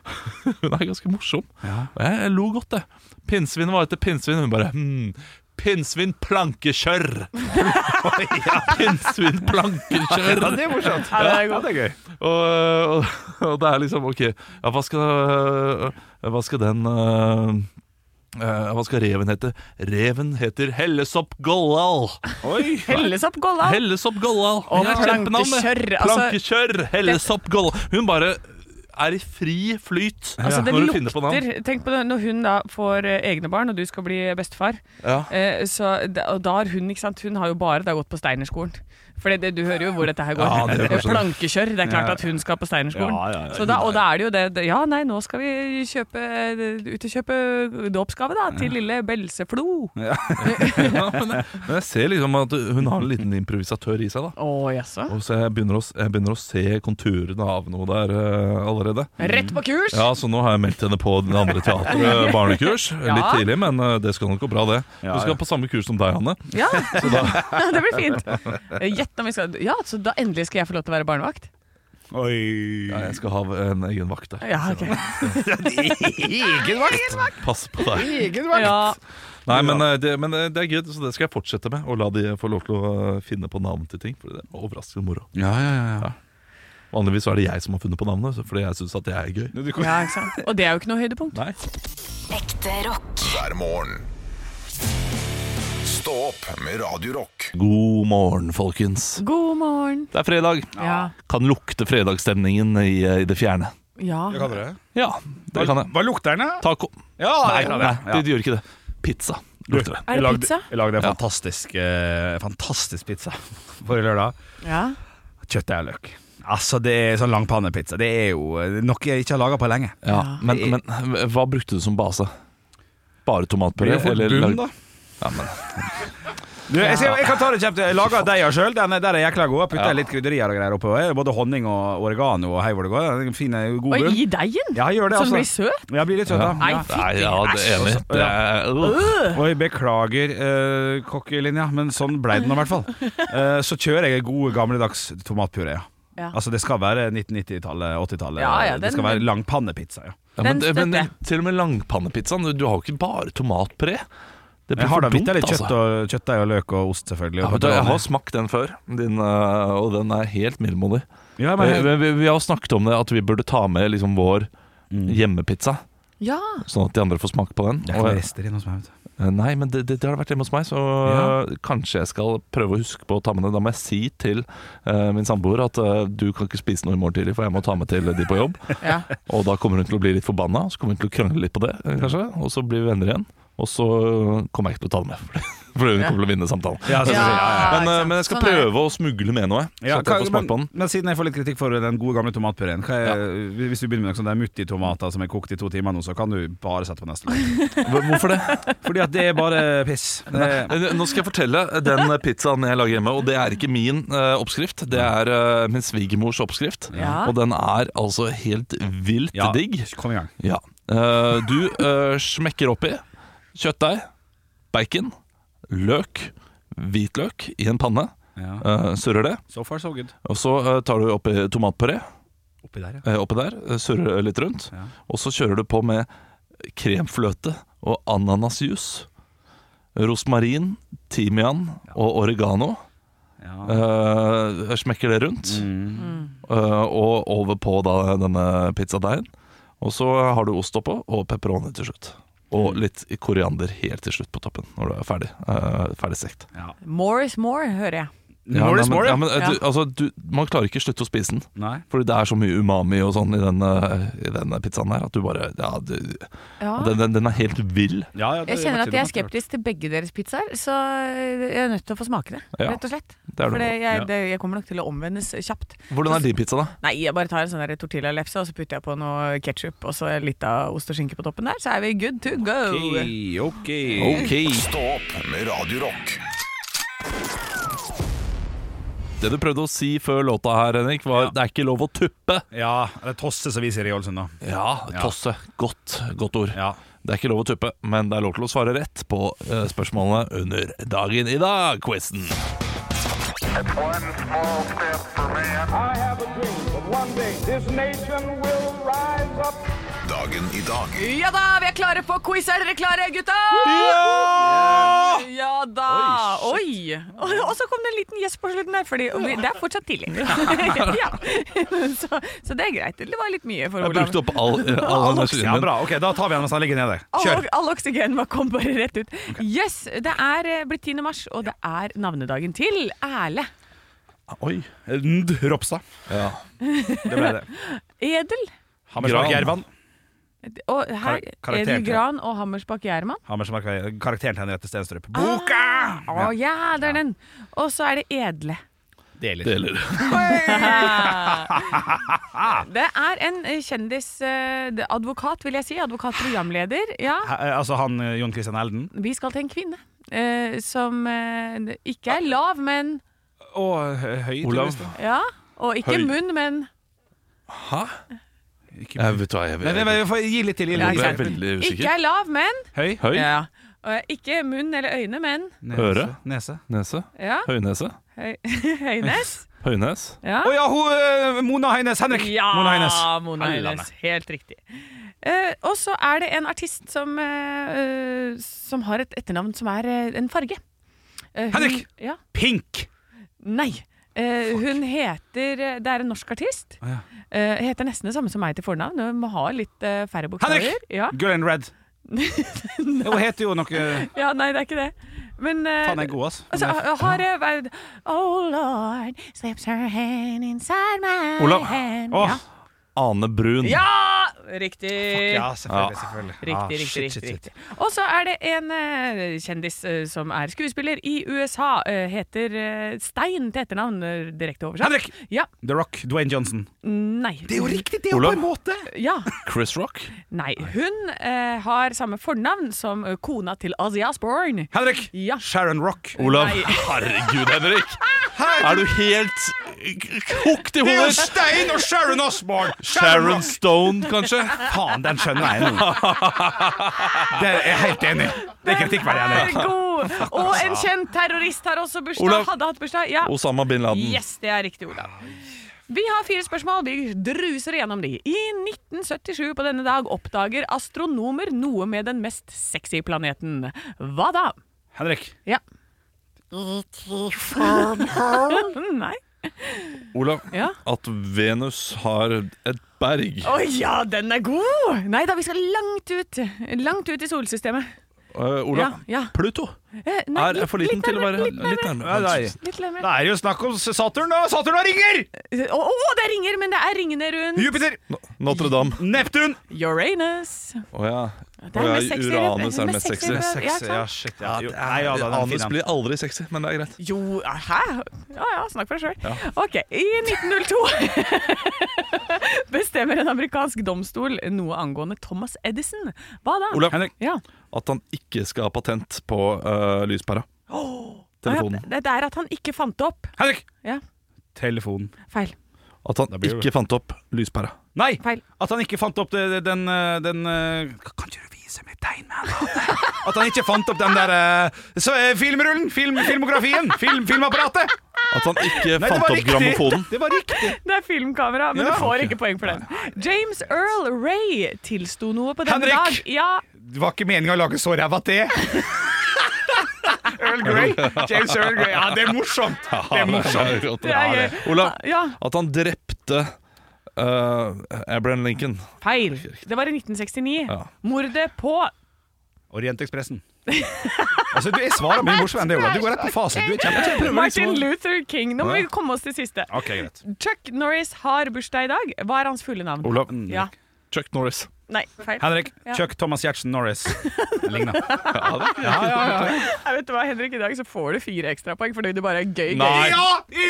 Speaker 3: Hun er ganske morsom.
Speaker 2: Ja.
Speaker 3: Og jeg, jeg lo godt, jeg. Pinnsvin var etter pinnsvin. Hun bare hmm, Pinnsvin plankekjørr! ja, pinnsvin plankekjørr!
Speaker 2: det er morsomt.
Speaker 4: Ja, det er godt.
Speaker 2: Ja, det er gøy.
Speaker 3: Og, og, og det er liksom Ok, ja, hva skal, hva skal den eh, eh, Hva skal reven hete? Reven heter Hellesopp Gollal.
Speaker 2: Oi.
Speaker 4: Helles opp golla.
Speaker 3: Hellesopp Gollal.
Speaker 4: Og
Speaker 3: Det er kjempenavn, det.
Speaker 4: plankekjørr, altså-
Speaker 3: Plankekjørr. Hellesopp Gollal. Hun bare er i fri flyt
Speaker 4: Altså, det
Speaker 3: når hun finner på navn.
Speaker 4: lukter Tenk på det når hun da får eh, egne barn, og du skal bli bestefar.
Speaker 3: Ja.
Speaker 4: Eh, så, da- og da har hun, ikke sant, hun har jo bare da gått på Steinerskolen. For det, du hører jo hvor dette her går.
Speaker 2: Ja, det gjør kanskje det.
Speaker 4: Plankekjør. Det er klart at hun skal på Steinerskolen.
Speaker 2: Ja, ja, ja.
Speaker 4: Så da, og da er det jo det- det Ja, nei, nå skal vi kjøpe, ut og kjøpe dåpsgave, da, til lille Belseflo. Å,
Speaker 3: Ja, men, jeg, men jeg ser liksom at hun har en liten improvisatør i seg, da.
Speaker 4: jaså.
Speaker 3: Og så jeg begynner, å, s- jeg begynner å se konturene av noe der eh, allerede.
Speaker 4: Rett på kurs!
Speaker 3: Ja, så nå har jeg meldt henne på det andre teatret, barnekurs. Litt
Speaker 4: Ja.
Speaker 3: tidlig, men eh, det skal nok gå bra, det.
Speaker 2: Ja,
Speaker 3: Hun skal
Speaker 2: ja.
Speaker 3: på samme kurs som deg, Hanne.
Speaker 4: Ja, det blir fint. Gjett om vi skal Ja, så da endelig skal jeg få lov til å være barnevakt?
Speaker 2: Oi.
Speaker 3: Ja, jeg skal ha en egen vakt der.
Speaker 4: Ja, ok.
Speaker 2: Egen vakt!
Speaker 3: Pass på deg.
Speaker 2: Egen
Speaker 4: Ja,
Speaker 3: Nei, men, eh, det, men eh, det er gøy, så det skal jeg fortsette med. Og la de få lov til å eh, finne på navn til ting. For det er overraskende moro.
Speaker 2: Ja, ja, ja.
Speaker 3: Vanligvis så er det jeg som har funnet på navnet, så- fordi jeg syns at det er gøy.
Speaker 2: Du kan-
Speaker 4: ja, ikke sant. Og det er jo ikke noe høydepunkt.
Speaker 3: Nei,
Speaker 5: Ekte rock.
Speaker 1: hver morgen. Stå opp med Radio Rock.
Speaker 3: God morgen, folkens.
Speaker 4: God morgen.
Speaker 3: Det er fredag.
Speaker 4: Ja.
Speaker 3: Kan lukte fredagsstemningen i, eh, i det fjerne.
Speaker 4: Ja.
Speaker 3: Ja, det kan jeg.
Speaker 2: Hva lukter den, da?
Speaker 3: Taco.
Speaker 2: Ja,
Speaker 3: Nei,
Speaker 2: det kan
Speaker 3: nei
Speaker 2: jeg. Ja.
Speaker 3: det, det gjør ikke det. Pizza lukter det.
Speaker 4: Er det pizza?
Speaker 2: Vi lagde en
Speaker 3: Ja.
Speaker 2: fantastisk, eh, fantastisk pizza forrige lørdag.
Speaker 4: Ja.
Speaker 2: Kjøttdeig og løk. Altså, det er sånn langpannepizza. Det er jo eh, noe jeg ikke har laga på lenge.
Speaker 3: Ja, men, men hva brukte du som base? Bare tomatpuré? eller lag- Ja, men,
Speaker 2: Du, jeg, skal, jeg kan ta det kjapt. Jeg laga deiga sjøl. Den er- Der er jækla god. Jeg Putter
Speaker 3: Ja.
Speaker 2: litt krydderier og greier oppå. Både honning og oregano og hei hvor det går. Den er Fin, eh, god
Speaker 4: Og
Speaker 2: bunn.
Speaker 4: i deigen?
Speaker 2: Ja, jeg gjør det,
Speaker 4: Så den blir
Speaker 2: altså.
Speaker 4: søt?
Speaker 2: Jeg blir litt søt, da.
Speaker 4: Nei,
Speaker 2: Ja.
Speaker 4: fy,
Speaker 3: nei, ja, det er enig. Det er,
Speaker 2: Oi, beklager eh, kokkelinja, men sånn ble det nå i hvert fall. Eh, så kjører jeg god gammeldags tomatpuré. Ja.
Speaker 4: Ja.
Speaker 2: Altså, det skal være 1990-tallet, 80-tallet.
Speaker 4: Ja, ja,
Speaker 2: det skal
Speaker 4: den-
Speaker 2: være langpannepizza. Ja.
Speaker 3: Ja, men,
Speaker 4: Den
Speaker 3: men
Speaker 4: støtter jeg.
Speaker 3: til og med langpannepizzaen. Du har jo ikke bare tomatpuré. Det
Speaker 2: Jeg har da
Speaker 3: for
Speaker 2: bitte litt
Speaker 3: dumt, altså.
Speaker 2: kjøtt og, kjøttdeig og løk og ost, selvfølgelig.
Speaker 3: Ja,
Speaker 2: og
Speaker 3: vet du, jeg har
Speaker 2: pepperoni.
Speaker 3: smakt den før, din, øh, og den er helt middelmådig.
Speaker 2: ja,
Speaker 3: Vi,
Speaker 2: men,
Speaker 3: vi, vi har snakket om det, at vi burde ta med liksom vår
Speaker 2: Mm.
Speaker 3: hjemmepizza,
Speaker 4: Ja.
Speaker 3: sånn at de andre får smake på den.
Speaker 2: det er ikke noe rester i noe som er, vet du.
Speaker 3: Og- Eh, nei, men det, det, det har vært hjemme hos meg, så øh, kanskje jeg skal prøve å huske på å ta med det. Da må jeg si til øh, min samboer at øh, du kan ikke spise noe i morgen tidlig, for jeg må ta med til de på jobb.
Speaker 4: ja.
Speaker 3: Og da kommer hun til å bli litt forbanna, og så kommer hun til å krangle litt på det, eh, kanskje. Og så blir vi venner igjen. Og så kommer jeg ikke til å ta det med, fordi- fordi hun kommer til å vinne samtalen.
Speaker 2: Ja, selvfølgelig,
Speaker 3: Men,
Speaker 2: ja,
Speaker 4: ikke
Speaker 3: eh,
Speaker 4: sant.
Speaker 3: men jeg skal
Speaker 4: Sånn er det.
Speaker 3: prøve å smugle med noe, så
Speaker 2: Ja,
Speaker 3: at jeg
Speaker 2: hva-
Speaker 3: får smake på den.
Speaker 2: men, men siden jeg får litt kritikk for den gode gamle tomatpureen hva er, Hvis du begynner med noe sånn der mutti-tomater som er kokt i to timer nå, så kan du bare sette på neste gang.
Speaker 3: Hva- Hvorfor det?
Speaker 2: Fordi at det er bare piss. Det,
Speaker 3: Eh, Nå skal jeg fortelle den pizzaen jeg lager hjemme, og det er ikke min eh, oppskrift. Det er eh, min svigermors oppskrift,
Speaker 4: Ja.
Speaker 3: og den er altså helt vilt
Speaker 2: ja,
Speaker 3: digg.
Speaker 2: kom i gang.
Speaker 3: Ja. Eh, du eh, smekker oppi kjøttdeig, bacon, løk, hvitløk i en panne.
Speaker 2: Ja.
Speaker 3: Eh, surrer det.
Speaker 2: So far, so good.
Speaker 3: Og så eh, tar du oppi tomatpuré
Speaker 2: Oppi der, ja.
Speaker 3: eh, oppi der, eh, surrer litt rundt.
Speaker 2: Ja.
Speaker 3: Og så kjører du på med kremfløte og ananasjus. Rosmarin, timian og oregano.
Speaker 2: ja.
Speaker 3: Eh, smekker det rundt. Eh, og over på da denne pizzadeigen. Og så har du ost oppå, og pepperoni til slutt. Og litt koriander helt til slutt på toppen, når du er ferdig. Eh, ferdig stekt.
Speaker 4: More is more, hører jeg.
Speaker 2: More is
Speaker 3: nei, men-
Speaker 2: more,
Speaker 3: ja,
Speaker 2: ja.
Speaker 3: men, eh, du,
Speaker 4: Ja.
Speaker 3: altså, du, man klarer ikke å slutte å spise den.
Speaker 2: Nei.
Speaker 3: Fordi det er så mye umami og sånn i den, eh, i den pizzaen her at du bare ja, du,
Speaker 4: Ja.
Speaker 3: den, den, den er helt vill.
Speaker 2: Ja, ja, det-
Speaker 4: Jeg kjenner at jeg er
Speaker 2: det- det-
Speaker 4: skeptisk til begge deres pizzaer, så jeg er nødt til å få smake det.
Speaker 3: Ja.
Speaker 4: Rett og slett.
Speaker 3: Det er
Speaker 4: For det,
Speaker 3: det.
Speaker 2: Ja.
Speaker 4: jeg, det, jeg kommer nok til å omvendes kjapt.
Speaker 3: Hvordan er din pizza, da?
Speaker 4: Nei, jeg bare tar en sånn der tortillalefse, og så putter jeg på noe ketsjup og så litt av ost og skinke på toppen der, så er vi good to go.
Speaker 2: Ok, ok.
Speaker 1: Stå opp med Radio Rock
Speaker 3: Det du prøvde å si før låta her, Henrik, var det er ikke lov å tuppe.
Speaker 2: Ja, eller tosse, som vi sier i Ålesund, da.
Speaker 3: Ja, tosse. Godt, godt ord.
Speaker 2: Ja.
Speaker 3: Det er ikke lov å tuppe, men det er lov til å svare rett på eh, spørsmålene under Dagen i dag-quizen.
Speaker 6: One small step for man.
Speaker 7: I have a dream that one day this nation will rise up.
Speaker 1: Dagen i dag
Speaker 4: Ja da, vi er klare for quiz. Er dere klare, gutta? Ja da. Oi. Og og så kom det en liten gjest på slutten der, for det er fortsatt tidlig. ja. så, så det er greit. Det var litt mye for
Speaker 3: Jeg
Speaker 4: Olav.
Speaker 3: brukte opp all, eh, all energien
Speaker 2: Ja,
Speaker 3: min.
Speaker 2: bra. Ok, Da tar vi den mens han ligger nede.
Speaker 4: All,
Speaker 2: Kjør.
Speaker 4: all oksygen bare kom bare rett ut. Yes, det er eh, blitt 10. mars, og det er navnedagen til Erle.
Speaker 3: Oi.
Speaker 2: Nd Ropstad.
Speaker 3: Ja.
Speaker 2: Det ble det.
Speaker 4: Edel.
Speaker 2: Hammersmark
Speaker 3: Gran.
Speaker 2: Jervan.
Speaker 4: Og her,
Speaker 2: Kar- karakter-
Speaker 4: Edel Gran og Hammersbakk Gjerman.
Speaker 2: Hammersmark
Speaker 4: Ah.
Speaker 2: Karakteren til Henriette Stenstrup. Boka!
Speaker 4: Å ja, det er den. Og så er det Edle.
Speaker 2: Deler.
Speaker 3: Deler.
Speaker 4: Det er en eh, kjendis eh, det- Advokat, vil jeg si. Advokatprogramleder. Ja.
Speaker 2: Hæ, eh, altså han eh, John Christian Elden?
Speaker 4: Vi skal til en kvinne eh, som eh, ikke er lav, men
Speaker 2: Og eh, høy,
Speaker 3: Olav.
Speaker 4: Ja. Og ikke
Speaker 3: Høy.
Speaker 4: munn, men
Speaker 3: Hæ? Jeg vet hva jeg
Speaker 2: Nei, nei, nei, jeg får gi litt til. Gi
Speaker 4: Ja,
Speaker 2: litt
Speaker 3: Jeg er
Speaker 2: til.
Speaker 3: veldig
Speaker 4: Ikke
Speaker 3: usikker.
Speaker 4: er lav, men
Speaker 2: Høy.
Speaker 3: Høy?
Speaker 4: ja. Og Ikke munn eller øyne, men
Speaker 2: Nese.
Speaker 3: Øre.
Speaker 2: Nese.
Speaker 3: Nese?
Speaker 4: ja.
Speaker 3: Høynese?
Speaker 4: Høy, Høynes.
Speaker 3: Høynes?
Speaker 4: Ja.
Speaker 2: Å ja, hun, eh, Mona Heines Henrik!
Speaker 4: Ja,
Speaker 2: Mona Heines.
Speaker 4: Mona
Speaker 2: Helland.
Speaker 4: Høines. Helt riktig. Eh, og så er det en artist som, eh, eh, som har et etternavn som er eh, en farge. Eh, hun-
Speaker 2: Henrik!
Speaker 4: Ja.
Speaker 2: Pink!
Speaker 4: Nei. Eh, hun heter eh, Det er en norsk artist.
Speaker 2: Å, ja.
Speaker 4: Eh, heter nesten det samme som meg til fornavn. Hun må ha litt eh, færre bokstaver.
Speaker 2: Henrik!
Speaker 4: Ja.
Speaker 2: Girl in red. Hun heter jo noe Faen,
Speaker 4: ja, nei, det er ikke det. Men eh,
Speaker 2: jeg er god, ass.
Speaker 4: altså, ha- har det vært Oh Lord slips her hand inside my
Speaker 3: Olav.
Speaker 4: hand.
Speaker 2: Åh,
Speaker 4: Ja.
Speaker 3: Ane Brun.
Speaker 4: ja! Riktig.
Speaker 2: ja, selvfølgelig. selvfølgelig. Ah,
Speaker 4: Riktig, riktig,
Speaker 2: shit,
Speaker 4: riktig,
Speaker 2: shit, shit.
Speaker 4: riktig. Og så er det en eh, kjendis eh, som er skuespiller i USA. eh, heter eh, Stein til etternavn, eh, direkte oversatt.
Speaker 2: Henrik!
Speaker 4: Ja.
Speaker 2: The Rock. Dwayne Johnson.
Speaker 4: Nei.
Speaker 2: riktig, det
Speaker 3: er Olav. på en
Speaker 2: måte!
Speaker 4: Ja.
Speaker 3: Chris Rock.
Speaker 4: Nei. Hun eh, har samme fornavn som eh, kona til Ozzy Osbourne.
Speaker 2: Henrik!
Speaker 4: Ja.
Speaker 2: Sharon Rock.
Speaker 3: Olav.
Speaker 4: Nei.
Speaker 3: Herregud, Henrik. Er du helt hooked i
Speaker 2: Det er jo
Speaker 3: hodet?
Speaker 2: Stein og Sharon Osborne!
Speaker 3: Sharon Stone, kanskje?
Speaker 2: Faen, den skjønner jeg nå. Det er jeg helt enig i. Det er kritikkverdig, Henrik.
Speaker 4: God. Og en kjent terrorist har også bursdag.
Speaker 3: Olav.
Speaker 4: Hadde hatt bursdag. Ja.
Speaker 3: Osama bin Laden.
Speaker 4: Yes, det er riktig, Olav. Vi har fire spørsmål. Vi druser gjennom de. I 1977 på denne dag oppdager astronomer noe med den mest sexy planeten. Hva da?
Speaker 2: Henrik.
Speaker 4: Ja. Nei.
Speaker 3: Olav,
Speaker 4: Ja.
Speaker 3: at Venus har et berg.
Speaker 4: Å ja, den er god! Nei da, vi skal langt ut. Langt ut i solsystemet.
Speaker 3: Eh, Olav,
Speaker 4: Ja, ja.
Speaker 3: Pluto
Speaker 4: Eh, nei,
Speaker 3: er, er for liten til å være litt nærmere.
Speaker 2: Ja, det er-
Speaker 4: Litt nærmere.
Speaker 2: Da er det jo snakk om Saturn, da! Saturn og ringer!
Speaker 4: Å, å, det ringer, men det er ringene rundt.
Speaker 2: Jupiter!
Speaker 3: Notre-Dame.
Speaker 2: Neptun!
Speaker 4: Uranus.
Speaker 3: Å ja.
Speaker 4: Det er
Speaker 3: Å ja,
Speaker 4: mest sexy.
Speaker 3: Uranus er
Speaker 4: Det er
Speaker 3: mest
Speaker 4: mest
Speaker 3: sexy.
Speaker 4: sexy. Ja, sant.
Speaker 2: shit.
Speaker 3: Ja,
Speaker 2: Jo,
Speaker 3: det
Speaker 2: nei, ja, da,
Speaker 3: er,
Speaker 2: den er fin,
Speaker 3: anus
Speaker 2: den.
Speaker 3: blir aldri sexy, men det er greit.
Speaker 4: Jo, eh, hæ? Ja ja, snakk for deg sjøl. OK. I 1902 bestemmer en amerikansk domstol noe angående Thomas Edison. Hva da?
Speaker 3: Olav,
Speaker 2: Henrik.
Speaker 4: Ja.
Speaker 3: at han ikke skal ha patent på eh, lyspæra. Telefonen.
Speaker 4: Det det er at han ikke fant det opp.
Speaker 2: Henrik!
Speaker 4: Ja,
Speaker 2: Telefon.
Speaker 4: feil.
Speaker 3: At han
Speaker 2: blir det-
Speaker 3: ikke fant opp lyspæra.
Speaker 2: Nei!
Speaker 4: Feil.
Speaker 2: At han ikke fant opp det, det- den, eh, den eh, Kan ikke du vise meg tegn med han? At han ikke fant opp den der eh, så, eh, filmrullen! Film, filmografien! Film, filmapparatet!
Speaker 3: At han ikke
Speaker 2: Nei, det
Speaker 3: fant
Speaker 2: var
Speaker 3: opp grammofonen.
Speaker 2: Det var riktig!
Speaker 4: Det er filmkamera, men
Speaker 2: Ja.
Speaker 4: du får ikke poeng for den. James Earl Ray tilsto noe på denne dag.
Speaker 2: Henrik!
Speaker 4: Ja,
Speaker 2: Det var ikke meninga å lage så ræva te. Earl Grey. James Earl Grey. Ja, det er morsomt! Det er morsomt.
Speaker 4: det er gøy.
Speaker 3: Olav,
Speaker 4: Ja,
Speaker 3: at han drepte eh, Abraham Lincoln.
Speaker 4: feil. Det var i 1969.
Speaker 3: Ja.
Speaker 4: Mordet på
Speaker 2: Orientekspressen. Altså, du, jeg svarer mye morsommere enn det, Olav. Du går rett på fasit. Du er kjempe, kjempe, prøver
Speaker 4: Martin
Speaker 2: liksom å-
Speaker 4: Luther King. Nå må
Speaker 2: Ja.
Speaker 4: vi komme oss til siste.
Speaker 2: Ok, greit.
Speaker 4: Chuck Norris har bursdag i dag. Hva er hans fulle navn?
Speaker 3: Olav,
Speaker 4: Ja.
Speaker 3: Chuck Norris.
Speaker 4: Nei, feil.
Speaker 2: Henrik,
Speaker 4: Ja.
Speaker 2: Chuck Thomas Gjertsen Norris. Det Ligner.
Speaker 4: Jeg vet du hva, Henrik, i dag så får du fire ekstrapoeng fordi du bare er gøy.
Speaker 3: Nei.
Speaker 2: ja, men
Speaker 3: Nei,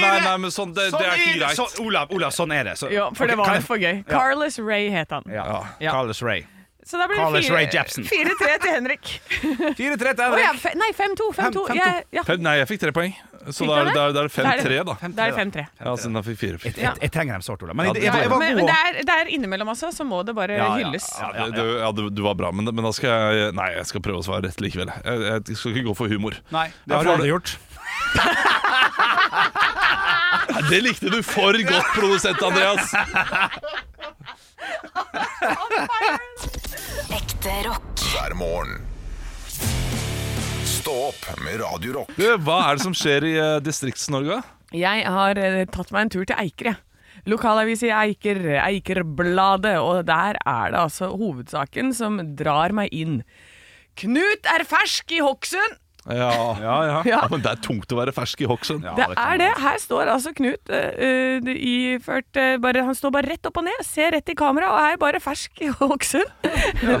Speaker 3: nei, nei, men sånn, det, det er ikke greit.
Speaker 2: Sånn, Olav, Olav, sånn er det. Så,
Speaker 4: gøy. Ja, for
Speaker 2: Ok,
Speaker 4: det var
Speaker 2: kan jeg-
Speaker 4: for gøy. Carlos Ray het han.
Speaker 2: Ja.
Speaker 4: Ja.
Speaker 2: Carlos Ray.
Speaker 4: Så da blir det
Speaker 2: Carlos Ray
Speaker 4: fire-
Speaker 2: Jepsen.
Speaker 4: 4-3 til Henrik.
Speaker 2: 4-3 til
Speaker 4: Å ja,
Speaker 2: Henrik.
Speaker 4: fe, nei, 5-2. 5-2.
Speaker 2: Fem- fem-to.
Speaker 4: Jeg- ja.
Speaker 3: Fem- Nei, jeg fikk tre poeng. Så
Speaker 4: Fikk
Speaker 3: da er
Speaker 4: han
Speaker 3: det- da er det da er det
Speaker 4: Da er det-
Speaker 3: 5-3, da.
Speaker 4: Det er 5-3.
Speaker 3: Ja, siden han fikk fire.
Speaker 2: Jeg,
Speaker 4: Ja.
Speaker 2: jeg, jeg trenger dem sårt, Olav. Men
Speaker 3: Ja,
Speaker 2: jeg,
Speaker 3: det
Speaker 2: jeg, jeg,
Speaker 3: var-
Speaker 2: var
Speaker 4: Men, men
Speaker 2: god.
Speaker 4: det, er, det er innimellom også, så må det bare
Speaker 2: Ja, ja,
Speaker 4: hylles.
Speaker 2: ja.
Speaker 3: Ja, det, det, ja, du, du var bra, men, men da skal jeg Nei, jeg skal prøve å svare rett likevel. Jeg, jeg skal ikke gå for humor.
Speaker 2: Nei, det har
Speaker 3: Jeg
Speaker 2: du
Speaker 3: får-
Speaker 2: aldri gjort.
Speaker 3: Nei, det likte du for godt, produsent Andreas!
Speaker 5: Ekte rock.
Speaker 1: hver morgen. Stå opp med Radio Rock.
Speaker 3: Du, hva er det som skjer i eh, Distrikts-Norge?
Speaker 4: Jeg har eh, tatt meg en tur til Eiker, jeg. Lokalavis i Eiker, Eikerbladet, og der er det altså hovedsaken som drar meg inn. Knut er fersk i Hokksund!
Speaker 3: Ja.
Speaker 2: Ja, ja.
Speaker 4: Ja.
Speaker 3: Ja, men det er tungt å være fersk i Hokksund.
Speaker 2: Ja,
Speaker 4: Det
Speaker 2: det kan
Speaker 4: er det. Her står altså Knut eh, eh, iført eh, bare, Han står bare rett opp og ned, ser rett i kamera og er bare fersk i Hokksund.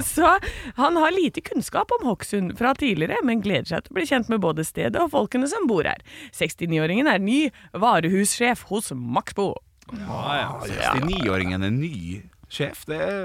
Speaker 4: Så han har lite kunnskap om Hokksund fra tidligere, men gleder seg til å bli kjent med både stedet og folkene som bor her. 69-åringen er ny varehussjef hos Maxbo.
Speaker 2: Ja, ja. 69-åringen er ny sjef, det er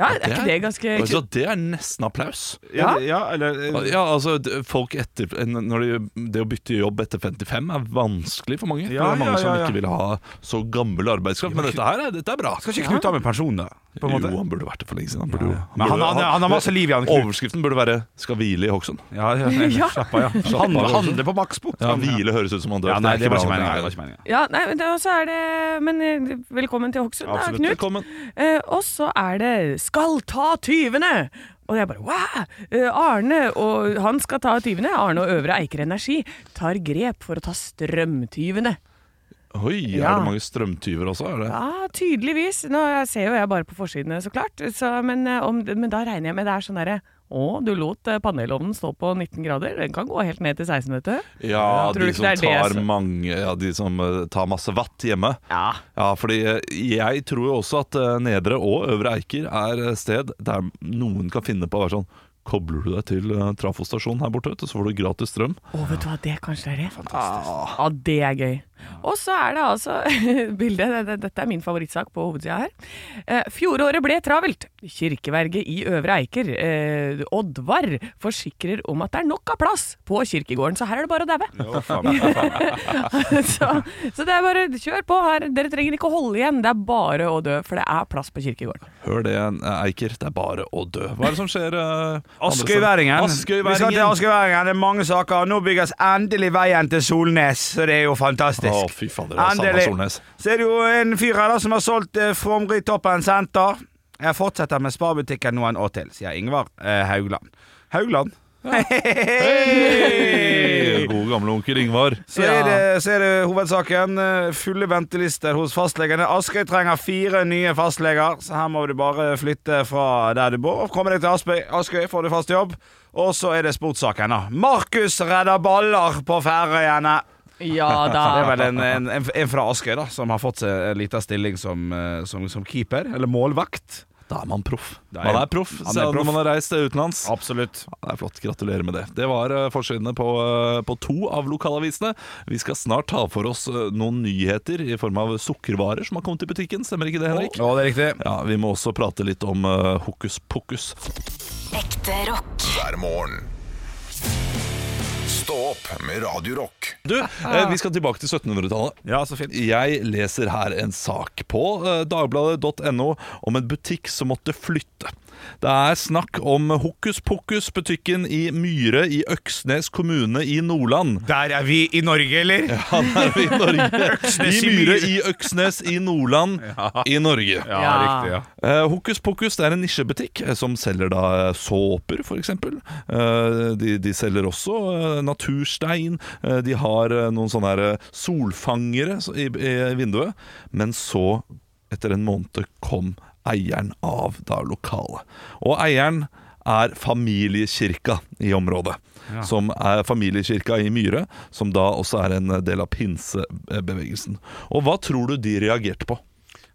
Speaker 4: Ja, er ikke det ganske
Speaker 3: altså, Det er nesten applaus.
Speaker 2: Ja,
Speaker 4: Ja.
Speaker 2: ja eller eh,
Speaker 3: Ja, altså, d- folk etter når de, Det å bytte jobb etter 55 er vanskelig for mange. det
Speaker 2: Ja,
Speaker 3: er mange
Speaker 2: ja,
Speaker 3: som
Speaker 2: ja, ja.
Speaker 3: ikke vil ha så gammel arbeidskraft. Men dette her er, dette er bra.
Speaker 2: Skal ikke Knut av med pensjon, da? På en måte.
Speaker 3: Jo, han burde vært det for lenge siden. Han burde, jo-
Speaker 2: Men han-
Speaker 3: burde-
Speaker 2: han- han har masse liv i han, Knut.
Speaker 3: Overskriften burde være 'Skal hvile i Hokksund'.
Speaker 2: Ja, ja, nei,
Speaker 4: Ja.
Speaker 2: Slapp av, ja. Handle, handle på Maxbo.
Speaker 3: Ja, hvile høres ut som han dør.
Speaker 2: Ja, nei, det
Speaker 3: er bra
Speaker 2: var ikke meningen, det
Speaker 3: lenger.
Speaker 2: var ikke meningen.
Speaker 4: Ja, nei, men det- og så er det Men eh, velkommen til Hokksund, da,
Speaker 3: Absolutt.
Speaker 4: Knut.
Speaker 3: Velkommen.
Speaker 4: Eh, og så er det 'Skal ta tyvene'. Og jeg bare wow! Eh, Arne og han skal ta tyvene. Arne og Øvre Eiker Energi tar grep for å ta strømtyvene.
Speaker 3: Oi,
Speaker 4: Ja.
Speaker 3: er det mange strømtyver også? Er det?
Speaker 4: Ja, tydeligvis. Nå ser jo jeg bare på forsidene, så klart. Så, men, eh, om, men da regner jeg med det er sånn derre å, du lot eh, panelovnen stå på 19 grader. Den kan gå helt ned til 16, vet du.
Speaker 3: Ja,
Speaker 4: Tror du
Speaker 3: de
Speaker 4: ikke
Speaker 3: som
Speaker 4: det er det
Speaker 3: tar
Speaker 4: som-
Speaker 3: mange Ja, de som eh, tar masse watt hjemme.
Speaker 4: Ja.
Speaker 3: Ja, fordi eh, jeg tror jo også at eh, Nedre og Øvre Eiker er et sted der noen kan finne på å være sånn Kobler du deg til eh, trafostasjonen her borte, vet du, så får du gratis strøm.
Speaker 4: Å, vet du hva, det kanskje er det? Fantastisk. Ja, det er gøy. Og så er det altså bildet, det- det- dette er min favorittsak på hovedsida her. Eh, Fjoråret ble travelt. Kirkeverget i Øvre Eiker, eh, Oddvar, forsikrer om at det er nok av plass på kirkegården, så her er det bare å daue.
Speaker 2: Å, faen, ja, faen.
Speaker 4: så, så det er bare kjør på her, dere trenger ikke å holde igjen, det er bare å dø, for det er plass på kirkegården.
Speaker 3: Hør det, eh, Eiker, det er bare å dø. Hva er det som skjer? eh, andre steder?
Speaker 2: Askøyværingen. Vi skal til
Speaker 3: Askøyværingen.
Speaker 2: Askøyværingen. Det er mange saker. Nå bygges endelig veien til Solnes, så det er jo fantastisk.
Speaker 3: Å, fy fader, det er Sander Solnes.
Speaker 2: Så er det jo en fyr her da som har solgt eh, Fromgrytoppen senter. Jeg fortsetter med sparbutikken noen år til, sier Ingvar eh, Haugland. Haugland?
Speaker 3: Hei, God gamle onkel Ingvar.
Speaker 2: Så er, det, så er det hovedsaken. eh, Fulle ventelister hos fastlegene. Askøy trenger fire nye fastleger, så her må du bare flytte fra der du bor. Komme deg til Aspøy. Askøy, får du fast jobb. Og så er det sportssaken, da. Markus redder baller på Færøyene.
Speaker 4: Ja
Speaker 2: Det
Speaker 4: da.
Speaker 2: er vel en, en, en, en fra Askøy da, som har fått seg en liten stilling som, eh, som, som keeper, eller målvakt.
Speaker 3: Da er man proff.
Speaker 2: Da er-
Speaker 3: man er proff
Speaker 2: han er
Speaker 3: selv
Speaker 2: proff.
Speaker 3: når man har reist utenlands.
Speaker 2: Absolutt.
Speaker 3: Det er flott, gratulerer med det. Det var eh, forsidene på, eh, på to av lokalavisene. Vi skal snart ta for oss eh, noen nyheter i form av sukkervarer som har kommet i butikken, stemmer ikke det, Henrik?
Speaker 2: Ja, det er riktig.
Speaker 3: Ja, Vi må også prate litt om eh, hokus pokus.
Speaker 5: Ekte rock.
Speaker 1: hver morgen. Stå opp med Radio Rock.
Speaker 3: Du, eh, vi skal tilbake til 1700-tallet.
Speaker 2: Ja, så fint.
Speaker 3: Jeg leser her en sak på eh, dagbladet.no om en butikk som måtte flytte. Det er snakk om Hokus Pokus-butikken i Myre i Øksnes kommune i Nordland.
Speaker 2: Der er vi i Norge, eller?
Speaker 3: Han er jo i Norge. I
Speaker 2: i
Speaker 3: Myre,
Speaker 2: Myre.
Speaker 3: i Øksnes, i Nordland, i Norge.
Speaker 4: Ja.
Speaker 2: riktig. ja
Speaker 3: Eh, Hokus Pokus det er en nisjebutikk eh, som selger da såper, f.eks. Uh, de, de selger også eh, naturstein. eh, de har eh, noen sånne her, eh, solfangere så- i, i vinduet. Men så, etter en måned, kom eieren av da lokalet. Og eieren er familiekirka i området. Som er familiekirka i Myre, som da også er en del av pinsebevegelsen. Og hva tror du de reagerte på?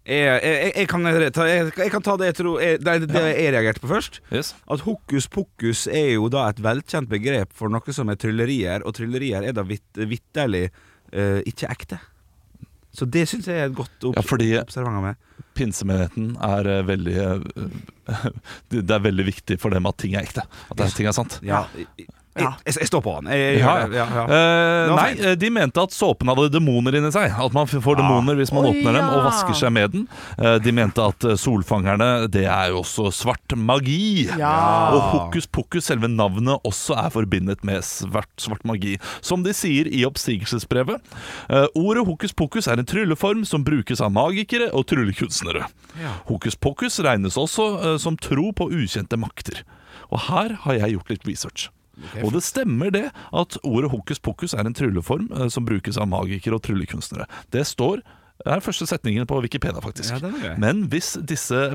Speaker 2: Jeg, jeg, jeg, kan, ta, jeg, jeg kan ta det jeg tror jeg, det, det jeg reagerte på først.
Speaker 3: Yes.
Speaker 2: At hokus pokus er jo da et velkjent begrep for noe som er tryllerier, og tryllerier er da vitt- vitterlig eh, ikke ekte. Så det syns jeg er et godt
Speaker 3: Ja,
Speaker 2: obs
Speaker 3: fordi
Speaker 2: observant av meg.
Speaker 3: pinsemenigheten er eh, veldig eh, Det det er veldig viktig for dem at ting er ekte. At det er, ting er sant.
Speaker 2: Ja. Jeg, jeg, jeg står på han. Jeg, jeg,
Speaker 3: Ja,
Speaker 2: gjør det. ja, ja.
Speaker 3: Eh,
Speaker 2: Det var
Speaker 3: nei,
Speaker 2: feil.
Speaker 3: eh, de mente at såpen hadde demoner inni seg. At man f- får demoner hvis man
Speaker 4: Å,
Speaker 3: åpner dem og
Speaker 4: ja.
Speaker 3: vasker seg med den. Eh, de mente at eh, solfangerne, det er jo også svart magi.
Speaker 4: Ja.
Speaker 3: Og hokus pokus, selve navnet, også er forbindet med svart, svart magi. Som de sier i oppsigelsesbrevet. Eh, ordet hokus pokus er en trylleform som brukes av magikere og tryllekunstnere. Hokus pokus regnes også eh, som tro på ukjente makter. Og her har jeg gjort litt research. Og det stemmer det at ordet hokus pokus er en trylleform eh, som brukes av magikere og tryllekunstnere. Det står Det er første setningen på Wikipedia, faktisk.
Speaker 2: Ja, den er grei.
Speaker 3: Men hvis disse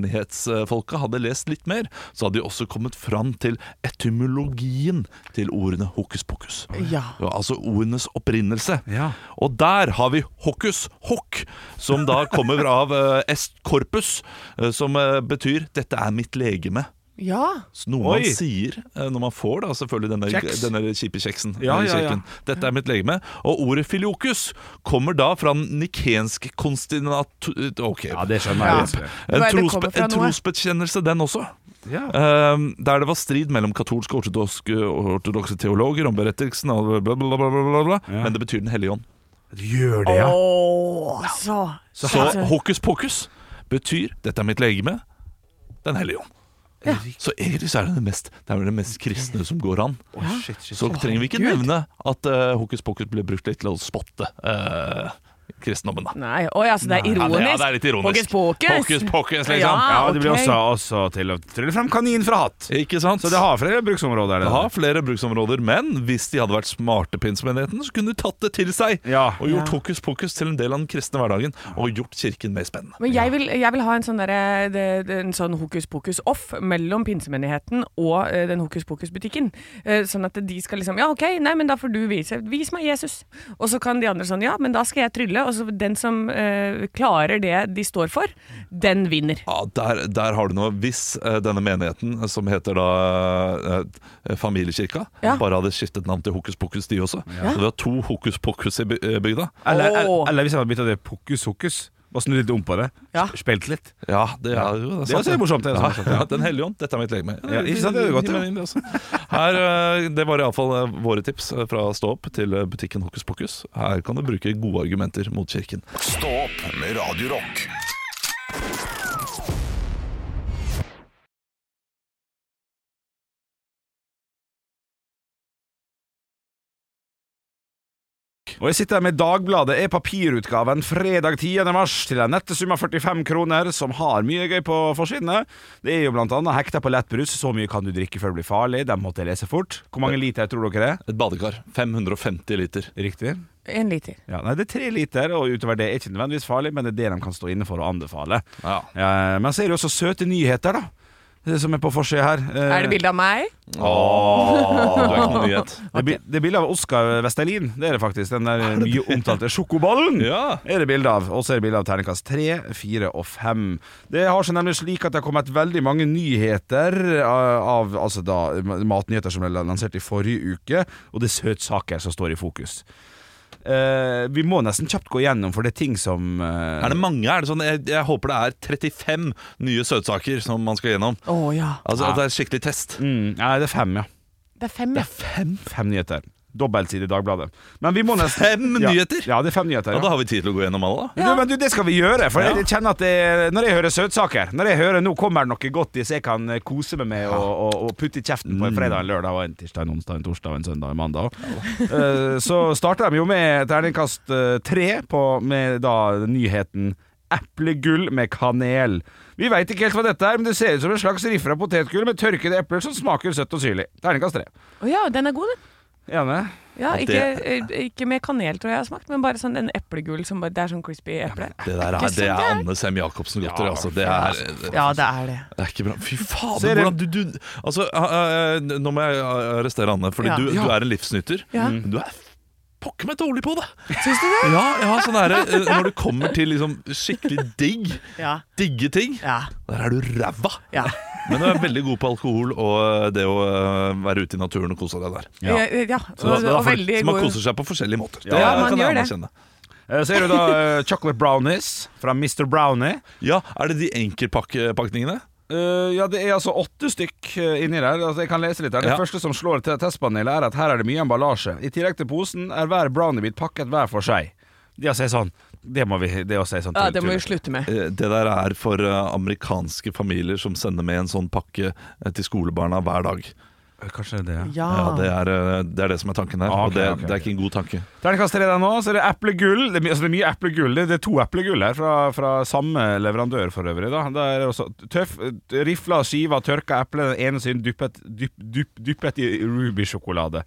Speaker 3: pinsemenighetsfolka hadde lest litt mer, så hadde de også kommet fram til etymologien til ordene hokus pokus.
Speaker 4: Ja.
Speaker 3: Ja, altså ordenes opprinnelse.
Speaker 2: Ja.
Speaker 3: Og der har vi hokus hokk, som da kommer av eh, est corpus, eh, som eh, betyr 'dette er mitt legeme'.
Speaker 4: Ja.
Speaker 3: Så Noe
Speaker 2: Oi.
Speaker 3: man sier eh, når man får da selvfølgelig denne,
Speaker 2: Kjeks.
Speaker 3: denne kjipe kjeksen.
Speaker 2: Ja,
Speaker 3: eller
Speaker 2: ja, ja.
Speaker 3: kjeken. Dette er mitt legeme. Og ordet filiokus kommer da fra den nikensk konstinat... Ok.
Speaker 2: Ja, det skjønner jeg.
Speaker 3: En,
Speaker 4: Hva er det
Speaker 3: trosbe,
Speaker 4: kommer fra
Speaker 3: en
Speaker 4: noe?
Speaker 3: trosbekjennelse, den også.
Speaker 2: Ja.
Speaker 3: Ehm, der det var strid mellom katolske og ortodokske, ortodokse teologer om berettelsen av bla, bla, bla, bla, bla, bla.
Speaker 2: Ja.
Speaker 3: Men det betyr Den hellige ånd.
Speaker 2: Gjør det, ja.
Speaker 4: Åh, altså. så.
Speaker 3: Så hokus pokus betyr 'dette er mitt legeme', Den hellige ånd. Så egentlig så er det det mest, det er vel det mest kristne som går an. Så trenger vi ikke nevne at eh, hokus pokus ble brukt litt til å spotte eh, kristendommen, da.
Speaker 4: Nei, å ja, så det er
Speaker 3: Ja,
Speaker 4: ironisk.
Speaker 3: det, ja, det er litt ironisk.
Speaker 4: Hokus pokus.
Speaker 3: Hokus pokus,
Speaker 4: Ja,
Speaker 3: liksom.
Speaker 2: Ja, det blir
Speaker 4: Ah, ok.
Speaker 2: også, også til å trylle frem kanin fra hatt.
Speaker 3: Ikke sant?
Speaker 2: Så det har flere bruksområder.
Speaker 3: Det
Speaker 2: det.
Speaker 3: har flere bruksområder, men hvis de hadde vært smarte pinsmenigheten, så kunne de tatt det til seg
Speaker 2: Ja.
Speaker 3: og gjort hokus pokus til en del av den kristne hverdagen, og gjort kirken mer spennende.
Speaker 4: Men jeg vil, jeg vil ha en sånn, derre- det- det- en sånn hokus pokus off mellom pinsemenigheten og eh, den hokus pokus-butikken. Eh, Sånn at de skal liksom Ja, OK, nei, men da får du vise Vis meg Jesus. Og så kan de andre sånn Ja, men da skal jeg trylle. Og så den som eh, klarer det de står for, den vinner.
Speaker 3: Ja, der, der har du noe. Hvis eh, denne menigheten, eh, som heter da eh, Familiekirka,
Speaker 4: Ja.
Speaker 3: bare hadde skiftet navn til Hokus pokus, de også. Så vi har to hokus pokus i by- eh, bygda.
Speaker 4: Åh.
Speaker 2: Eller, eller, eller hvis jeg hadde bytta det pokus hokus og snudd litt om på det.
Speaker 4: Ja.
Speaker 2: sp- Spilt litt.
Speaker 3: Ja, det er jo
Speaker 2: Det er også morsomt, det er
Speaker 3: Ja,
Speaker 2: også morsomt, ja.
Speaker 3: ja, Den hellige ånd, dette er mitt legeme.
Speaker 2: Ja, ikke sant, det er jo godt, ja.
Speaker 3: Gi meg inn det også. Her, eh, det var iallfall våre tips eh, fra Stå opp til eh, butikken Hokus Pokus. Her kan du bruke gode argumenter mot kirken.
Speaker 1: Stå opp med Radio Rock.
Speaker 2: Og jeg sitter her med Dagbladet er papirutgaven fredag 10. mars til en nette sum av 45 kroner, som har mye gøy på forsidene. Det er jo blant annet hekta på lettbrus. Så mye kan du drikke før det blir farlig. Den måtte jeg lese fort. Hvor mange liter tror dere det
Speaker 3: Et badekar. 550 liter.
Speaker 2: er? Riktig.
Speaker 4: En liter.
Speaker 2: Ja, nei, det er tre liter, og utover det er ikke nødvendigvis farlig, men det er det de kan stå inne for og anbefale.
Speaker 3: Ja.
Speaker 2: Eh, men så er det jo også søte nyheter, da. Det Som er på forsida her. Eh,
Speaker 4: Er det bilde av meg?
Speaker 3: Du er ikke noe nyhet.
Speaker 2: Det, bi- det er bilde av Oskar Vestelin. Det er det faktisk. Den der mye omtalte sjokoballen
Speaker 3: Ja.
Speaker 2: er det bilde av. Og så er det bilde av terningkast tre, fire og fem. Det har seg nemlig slik at det har kommet veldig mange nyheter eh, av altså da, matnyheter som ble lansert i forrige uke, og det er søtsaker som står i fokus. Eh, vi må nesten kjapt gå gjennom, for det er ting som eh,
Speaker 3: Er det mange? Er det sånn, jeg, jeg håper det er 35 nye søtsaker som man skal gjennom.
Speaker 4: Å ja.
Speaker 3: Altså at det er skikkelig test.
Speaker 2: mm, Nei, det er fem, ja.
Speaker 4: Det er fem, ja.
Speaker 2: Fem, nyheter. Dobbeltside i Dagbladet. Men vi må nesten
Speaker 3: Fem
Speaker 2: ja.
Speaker 3: nyheter?
Speaker 2: Ja, det er fem nyheter.
Speaker 3: Ja,
Speaker 2: ja.
Speaker 3: Da har vi tid til å gå gjennom alle, da.
Speaker 2: Du, men du, det skal vi gjøre, for jeg kjenner at det, når jeg hører søtsaker Når jeg hører nå kommer det noe godt i så jeg kan eh, kose meg med og, og, og putte i kjeften på en fredag, en lørdag, og en tirsdag, en onsdag, en torsdag, en søndag, en mandag Eh, Så starter de jo med terningkast eh, tre på, med da nyheten Eplegull med kanel. Vi veit ikke helt hva dette er, men det ser ut som en slags rifra potetgull med tørkede epler som smaker søtt og syrlig. Terningkast tre.
Speaker 4: Å ja, den er god, den.
Speaker 2: Enig?
Speaker 4: Ja,
Speaker 3: Ja,
Speaker 4: ikke, eh, ikke med kanel, tror jeg jeg har smakt, men bare sånn en eplegull som bare Det er sånn crispy eple.
Speaker 3: Det der er, det er Anne Sem Jacobsen-godteri. altså. Det er
Speaker 4: Ja, det er det.
Speaker 3: Det er ikke bra. Fy fader,
Speaker 2: Så er det-
Speaker 3: hvordan du, du Altså, eh, eh, nå må jeg arrestere Anne, fordi
Speaker 4: Ja.
Speaker 3: du,
Speaker 4: Ja.
Speaker 3: du er en livsnyter. Mm.
Speaker 4: Ja.
Speaker 3: Men Du er pokker meg dårlig på det!
Speaker 4: Syns du det?
Speaker 3: Ja, ja, sånn er det eh, når det kommer til liksom skikkelig digg,
Speaker 4: Ja.
Speaker 3: digge ting.
Speaker 4: Ja.
Speaker 3: Der er du ræva!
Speaker 4: ja.
Speaker 3: Men du er veldig god på alkohol og eh, det å eh, være ute i naturen og kose deg der.
Speaker 4: Ja, ja.
Speaker 3: Så,
Speaker 4: Og, og veldig
Speaker 3: så man
Speaker 4: god
Speaker 3: koser seg på forskjellige måter.
Speaker 4: Ja, man gjør det.
Speaker 3: anerkjenne.
Speaker 2: Eh, Så er det da eh, chocolate brownies fra Mr. Brownie.
Speaker 3: Ja, Er det de enkeltpakningene?
Speaker 2: Eh, ja, det er altså åtte stykk eh, inni der. Altså, jeg kan lese litt her. Det
Speaker 3: Ja.
Speaker 2: første som slår til testpanelet, er at her er det mye emballasje. I tillegg til posen er hver browniebit pakket hver for seg. Det å si sånn Det må vi det å si sånn
Speaker 4: Ja,
Speaker 2: tull-
Speaker 4: det må vi
Speaker 2: tull.
Speaker 4: slutte med.
Speaker 3: Eh, Det der er for eh, amerikanske familier som sender med en sånn pakke eh, til skolebarna hver dag.
Speaker 2: Eh, Kanskje det, ja.
Speaker 4: Ah.
Speaker 3: Ja, det er, eh, det er det som er tanken her.
Speaker 2: Ah, ok,
Speaker 3: og det,
Speaker 2: ok,
Speaker 3: det
Speaker 2: ok.
Speaker 3: er ikke en god tanke.
Speaker 2: Terningkast tre der nå. Så er det eplegull. Det, er mye- altså, det er mye eplegull. Det, det er to eplegull her, fra, fra samme leverandør for øvrig. Da. Det er også tøff eh, Rifla skiva tørka eple, den ene siden dyppet, dypp, dypp, dyppet i Ruby-sjokolade.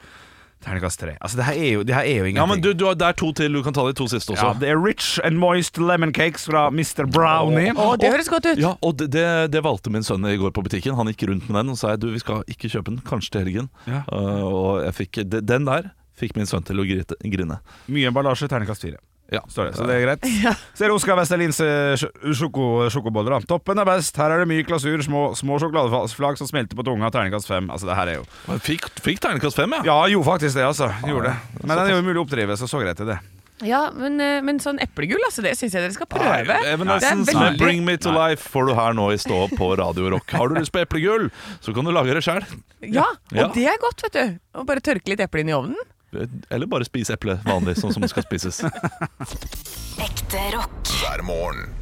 Speaker 2: Terningkast tre. Altså, det her er jo, det her er jo ingenting.
Speaker 3: Ja, men du, du har, Det er to til. Du kan ta de to siste også.
Speaker 2: Ja, det er Rich and Moist Lemon Cakes fra Mr. Brownie.
Speaker 4: Å, det høres godt ut.
Speaker 3: Ja, og det, det, det valgte min sønn i går på butikken. Han gikk rundt med den og sa jeg, du, vi skal ikke kjøpe den, kanskje til helgen.
Speaker 2: Ja.
Speaker 3: Uh, og jeg fikk, de- den der fikk min sønn til å grite, grine.
Speaker 2: Mye emballasje, terningkast fire.
Speaker 3: Ja.
Speaker 2: Står det, så det er greit. Så er det Oskar Westerlins eh, sj- sjoko, sjokoboller. da. Toppen er best. Her er det mye glasur, små, små sjokoladeflak som smelter på tunga. Terningkast fem. Altså, det her er jo
Speaker 3: Men Fikk, fikk terningkast fem, ja.
Speaker 2: Ja, jo faktisk det, altså. Gjorde det. Men den er jo mulig å oppdrive, så så greit er det.
Speaker 4: Ja, men, eh, men sånn eplegull, altså, det syns jeg dere skal prøve.
Speaker 3: Evanescence
Speaker 4: Det er
Speaker 3: med
Speaker 4: veldig-
Speaker 3: Bring Me To Life får du her nå i stå på Radio Rock. Har du lyst på eplegull, så kan du lage det sjøl.
Speaker 4: Ja, og
Speaker 3: Ja.
Speaker 4: det er godt, vet du. Å bare tørke litt eple inn i ovnen.
Speaker 3: Eller bare spise eple vanlig, sånn som det skal spises.
Speaker 5: Ekte rock.
Speaker 1: hver morgen.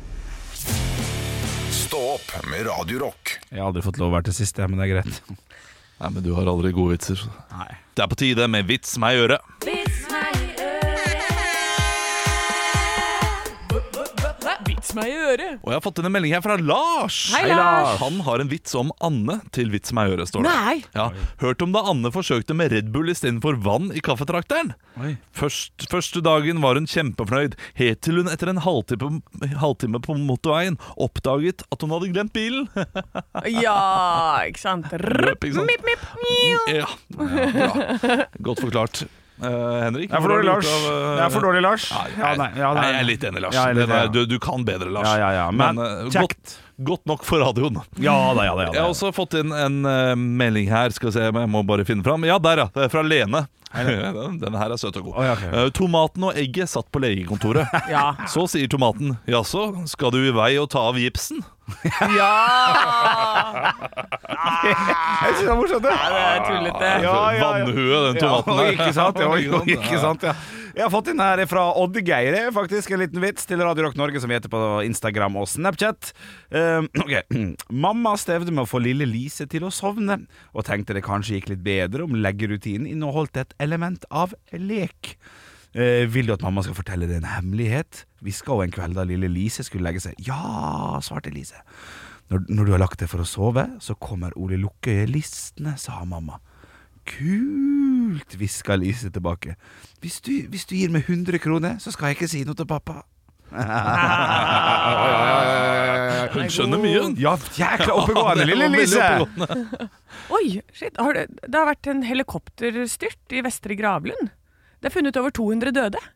Speaker 1: Stå opp med Radio Rock.
Speaker 2: Jeg har aldri fått lov å være til siste, men det er greit.
Speaker 3: Nei, men du har aldri gode vitser.
Speaker 2: Nei.
Speaker 3: Det er på tide med Vits meg i øret.
Speaker 4: Vits meg i øret.
Speaker 3: Og jeg har fått inn en melding her fra Lars.
Speaker 4: Hei, Lars.
Speaker 3: Han har en vits om Anne til Vits meg i øret, står det.
Speaker 4: Nei.
Speaker 3: Ja. Hørt om da Anne forsøkte med Red Bull istedenfor vann i kaffetrakteren?
Speaker 2: Oi.
Speaker 3: Først, første dagen var hun kjempefornøyd, helt til hun etter en halvtime, halvtime på motorveien oppdaget at hun hadde glemt bilen.
Speaker 4: Ja, ikke sant. Rup,
Speaker 3: ikke sant?
Speaker 4: Mip, mip.
Speaker 3: ja. ja, bra. Godt forklart. Eh, Henrik?
Speaker 2: Jeg er for dårlig,
Speaker 3: hva har du
Speaker 2: Lars.
Speaker 3: gjort av, eh,
Speaker 2: Jeg er for dårlig, Lars.
Speaker 3: Nei, jeg,
Speaker 2: Ja, nei, ja, nei.
Speaker 3: jeg er litt enig, Lars.
Speaker 2: Ja, jeg er litt
Speaker 3: Den er-
Speaker 2: enig,
Speaker 3: du, du kan bedre, Lars.
Speaker 2: Ja, ja, ja,
Speaker 3: Men,
Speaker 2: men
Speaker 3: eh, godt,
Speaker 2: kjekt.
Speaker 3: godt nok for radioen.
Speaker 2: Ja da, ja da.
Speaker 3: Jeg
Speaker 2: Ja,
Speaker 3: har
Speaker 2: da.
Speaker 3: også fått inn en eh, melding her. Skal vi se, jeg må bare finne fram. Ja, der, ja. Det er Fra Lene. Den den her er søt og god.
Speaker 2: Å, ja, ok.
Speaker 3: Eh, tomaten og egget satt på legekontoret.
Speaker 4: Ja.
Speaker 3: Så sier tomaten Jaså, skal du i vei og ta av gipsen?
Speaker 4: Ja!
Speaker 2: Jeg synes det er morsomt, det.
Speaker 4: Det er tullete.
Speaker 2: Ja, ja, ja.
Speaker 3: Vannhue, den tomaten
Speaker 2: Ja,
Speaker 3: der.
Speaker 2: ikke sant, ja, jo, ikke sant ja. Jeg har fått inn her fra Oddgeir eh, faktisk en liten vits til Radio Rock Norge som vi heter på Instagram og Snapchat. Eh, ok. Mamma strevde med å få lille Lise til å sovne, og tenkte det kanskje gikk litt bedre om leggerutinen inneholdt et element av lek. Eh, vil du at mamma skal fortelle deg en hemmelighet? Hviska hun en kveld da lille Lise skulle legge seg. Ja, svarte Lise. Når, når du har lagt deg for å sove, så kommer Ole Lukkøye listende, sa mamma. Kult, hviska Lise tilbake. Hvis du, hvis du gir meg 100 kroner, så skal jeg ikke si noe til pappa.
Speaker 3: Hun skjønner mye, hun.
Speaker 2: Ja, jækla oppegående, lille
Speaker 3: Veldig
Speaker 2: Lise!
Speaker 3: oppegående.
Speaker 4: Oi, shit. Har det, det har vært en helikopterstyrt i Vestre Gravlund. Det er funnet over 200 døde.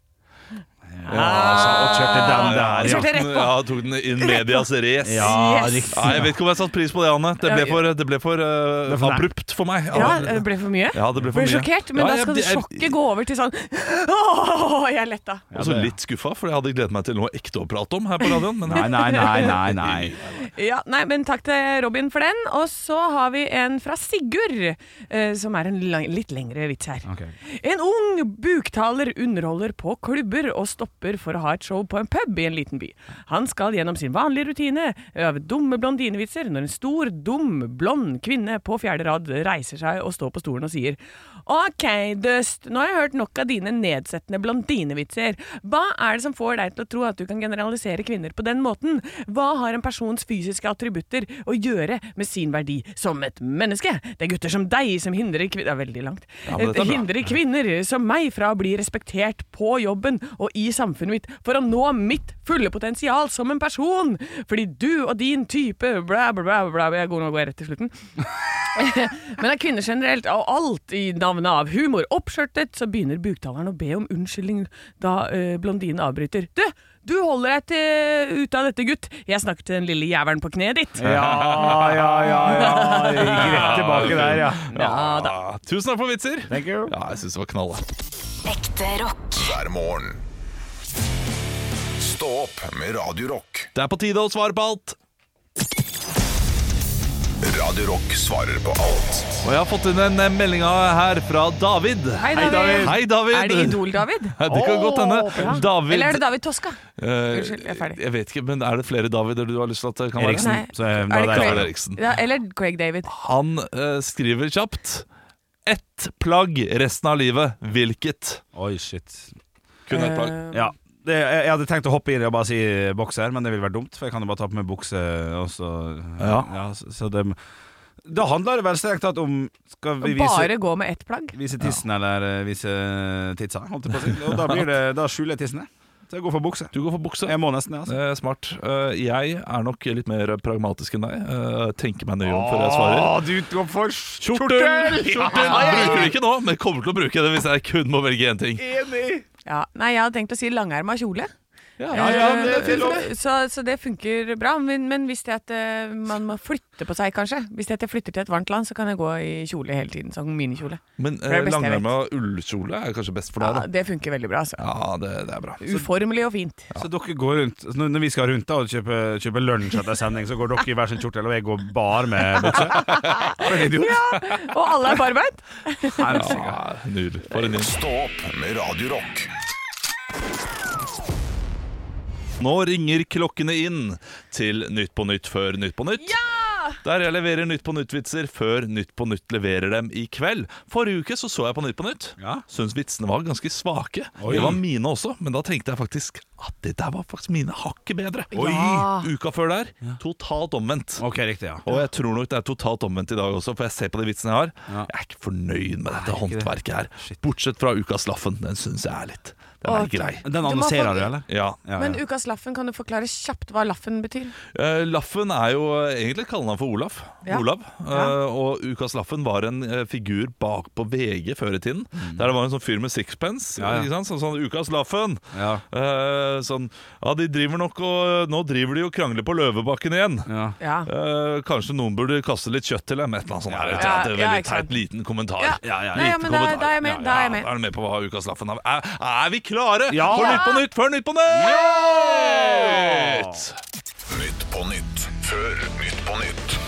Speaker 2: Ja, altså, og kjørte den der,
Speaker 4: Kjørte
Speaker 2: ja.
Speaker 4: rett på.
Speaker 3: Ja, tok den in medias race.
Speaker 2: Ja,
Speaker 4: Yes.
Speaker 2: riktig.
Speaker 3: Nei, jeg vet ikke om jeg satte pris på det, Anne. Det ble for, det ble for, eh,
Speaker 2: Det er for meg.
Speaker 3: abrupt for meg.
Speaker 4: Ja, det ble for mye?
Speaker 3: Ja, det ble for
Speaker 4: ble
Speaker 3: mye.
Speaker 4: sjokkert, men
Speaker 3: Ja,
Speaker 4: da
Speaker 3: jeg-
Speaker 4: skal det
Speaker 3: jeg-
Speaker 4: sjokket gå over til sånn Åh, jeg letta.
Speaker 3: Og så litt skuffa, for jeg hadde gledet meg til noe ekte å prate om her på radioen. Men
Speaker 2: Nei, nei, nei, nei, nei.
Speaker 4: Ja, nei, men takk til Robin for den. Og så har vi en fra Sigurd, eh, som er en lang, litt lengre vits her.
Speaker 2: Ok.
Speaker 4: En ung buktaler underholder på klubber og stopper for å ha et show på en pub i en liten by. Han skal gjennom sin vanlige rutine øve dumme blondinevitser når en stor, dum, blond kvinne på fjerde rad reiser seg og står på stolen og sier Ok, Dust, nå har jeg hørt nok av dine nedsettende blondinevitser. Hva er det som får deg til å tro at du kan generalisere kvinner på den måten? Hva har en persons fysiske attributter å gjøre med sin verdi som et menneske? Det er gutter som deg som hindrer kvinner Det er veldig langt.
Speaker 3: Ja, men dette er bra.
Speaker 4: Eh, hindrer kvinner som meg fra å bli respektert på jobben og i samfunnet mitt for å nå mitt fulle potensial som en person. Fordi du og din type bla, bla, bla, bla Jeg er god nå går jeg rett til slutten. Men av kvinner generelt, og alt i navnet av humor oppskjørtet, så begynner buktaleren å be om unnskyldning da eh, blondinen avbryter. Du! Du holder deg til, ute av dette, gutt. Jeg snakker til den lille jævelen på kneet ditt.
Speaker 2: Ja, ja, ja, ja. Det gikk rett tilbake der, ja.
Speaker 4: Ja, da.
Speaker 3: Ja, tusen takk for vitser!
Speaker 2: Thank you.
Speaker 3: Ja, jeg syns det var knall.
Speaker 5: Ekte rock.
Speaker 1: hver morgen. Stå opp med Radio Rock.
Speaker 3: Det er på tide å svare på alt.
Speaker 1: Radio Rock svarer på alt
Speaker 3: Og jeg har fått inn en eh, melding av- her fra David.
Speaker 4: Hei, David.
Speaker 3: Hei, David.
Speaker 4: Er det Idol-David?
Speaker 3: Ja, det kan godt hende. David
Speaker 4: Eller er det David Toska?
Speaker 3: Eh,
Speaker 4: Unnskyld, jeg er ferdig.
Speaker 3: Jeg vet ikke, men er det flere Davider du har lyst til at det kan være?
Speaker 2: Eriksen.
Speaker 4: Nei.
Speaker 2: Så, eh,
Speaker 4: Er
Speaker 2: da
Speaker 4: det
Speaker 2: er
Speaker 3: David
Speaker 4: Craig?
Speaker 3: Eriksen.
Speaker 4: Ja, eller Craig David.
Speaker 3: Han eh, skriver kjapt. Ett plagg resten av livet. Hvilket?
Speaker 2: Oi, shit.
Speaker 3: Kun
Speaker 4: Eh.
Speaker 3: ett plagg.
Speaker 2: Ja. Det, jeg, jeg hadde tenkt å hoppe inn og bare si bokser, men det ville vært dumt, for jeg kan jo bare ta på meg bukse. Og så,
Speaker 3: Ja.
Speaker 2: så, så det, Da handler det vel strengt tatt om Skal vi vise,
Speaker 4: Bare gå med ett plagg.
Speaker 2: vise tissen eller eh, vise titsa, holdt jeg på å si. Og da, blir det, da skjuler jeg tissene. Så jeg går for bukse.
Speaker 3: Du går for bukse.
Speaker 2: Jeg må nesten det, altså.
Speaker 3: Eh, smart. Eh, jeg er nok litt mer pragmatisk enn deg. Eh, tenker meg nøye om før jeg
Speaker 2: Ah.
Speaker 3: svarer.
Speaker 2: du går for
Speaker 3: Kjortel! Kjortel bruker vi ikke nå, men kommer til å bruke det hvis jeg kun må velge én ting.
Speaker 4: Ja. Nei, jeg hadde tenkt å si langerma kjole.
Speaker 2: Ja, ja, men det er
Speaker 4: Eh, så, så det funker bra. Men, men hvis det at eh, man må flytte på seg, kanskje. Hvis det at jeg flytter til et varmt land, så kan jeg gå i kjole hele tiden. Sånn minikjole.
Speaker 3: Men
Speaker 4: er
Speaker 3: uh,
Speaker 4: det beste jeg
Speaker 3: langerma ullkjole er kanskje best for
Speaker 4: Ja,
Speaker 3: deg, da.
Speaker 4: det funker veldig bra. Altså.
Speaker 3: Ja, det, det er bra.
Speaker 4: Uformelig og fint.
Speaker 2: Så dere går rundt så Når når vi skal rundt da og kjøpe, kjøpe lunsj etter sending, så går dere i hver sin kjortel, og jeg går bare med bukse? For en idiot.
Speaker 4: Og alle er på arbeid!
Speaker 3: Ja, nydelig. For en gjeng.
Speaker 1: Stå opp med Radio Rock.
Speaker 3: Nå ringer klokkene inn til Nytt på Nytt før Nytt på Nytt. Der jeg leverer Nytt på Nytt-vitser før Nytt på Nytt leverer dem i kveld. Forrige uke så, så jeg på Nytt på Nytt.
Speaker 2: Ja.
Speaker 3: Syns vitsene var ganske svake.
Speaker 2: Oi.
Speaker 3: Det var mine også, men da tenkte jeg faktisk at det der var faktisk mine hakket bedre.
Speaker 4: Ja.
Speaker 3: Uka før der, totalt omvendt.
Speaker 2: Ok, riktig, ja.
Speaker 3: Og jeg tror nok det er totalt omvendt i dag også, for jeg ser på de vitsene jeg har.
Speaker 2: Ja.
Speaker 3: Jeg er ikke fornøyd med dette
Speaker 2: ikke det.
Speaker 3: håndverket her. Bortsett fra Ukas Laffen. Den syns jeg er litt Den er
Speaker 4: Å,
Speaker 3: grei.
Speaker 2: Den
Speaker 4: må
Speaker 2: annonserer
Speaker 4: få-
Speaker 2: du, eller?
Speaker 3: Ja.
Speaker 2: Ja,
Speaker 4: Men
Speaker 2: ja.
Speaker 4: ukas Laffen, kan du forklare kjapt hva Laffen betyr?
Speaker 3: Eh, Laffen er jo eh, egentlig kallenavn for Olaf.
Speaker 4: Ja.
Speaker 3: Olav. Eh,
Speaker 4: Ja.
Speaker 3: og Ukas Laffen var en eh, figur bak på VG før i tiden. Der det var en sånn fyr med sixpence.
Speaker 2: Ja, ja.
Speaker 3: Ikke sant? Sånn, sånn Ukas Laffen!
Speaker 2: Ja.
Speaker 3: Eh, sånn Ja, de driver nok og Nå driver de og krangler på Løvebakken igjen.
Speaker 2: Ja.
Speaker 4: Ja.
Speaker 3: Eh, kanskje noen burde kaste litt kjøtt til dem. Et eller annet sånt. der, vet du.
Speaker 4: Ja,
Speaker 3: Det er en
Speaker 4: ja,
Speaker 3: veldig
Speaker 4: ikke sant.
Speaker 3: teit liten kommentar.
Speaker 4: Ja.
Speaker 2: Ja, ja,
Speaker 4: Nei, ja,
Speaker 3: Liten
Speaker 4: men da,
Speaker 3: kommentar.
Speaker 4: da er jeg med.
Speaker 3: Ja,
Speaker 4: Da er jeg
Speaker 3: ja,
Speaker 4: med.
Speaker 3: da er du med på hva Ukas Laffen er. Er, er vi klare
Speaker 2: Ja.
Speaker 3: for Nytt på Nytt før Nytt på Nytt?
Speaker 1: Nytt på nytt før Nytt på nytt.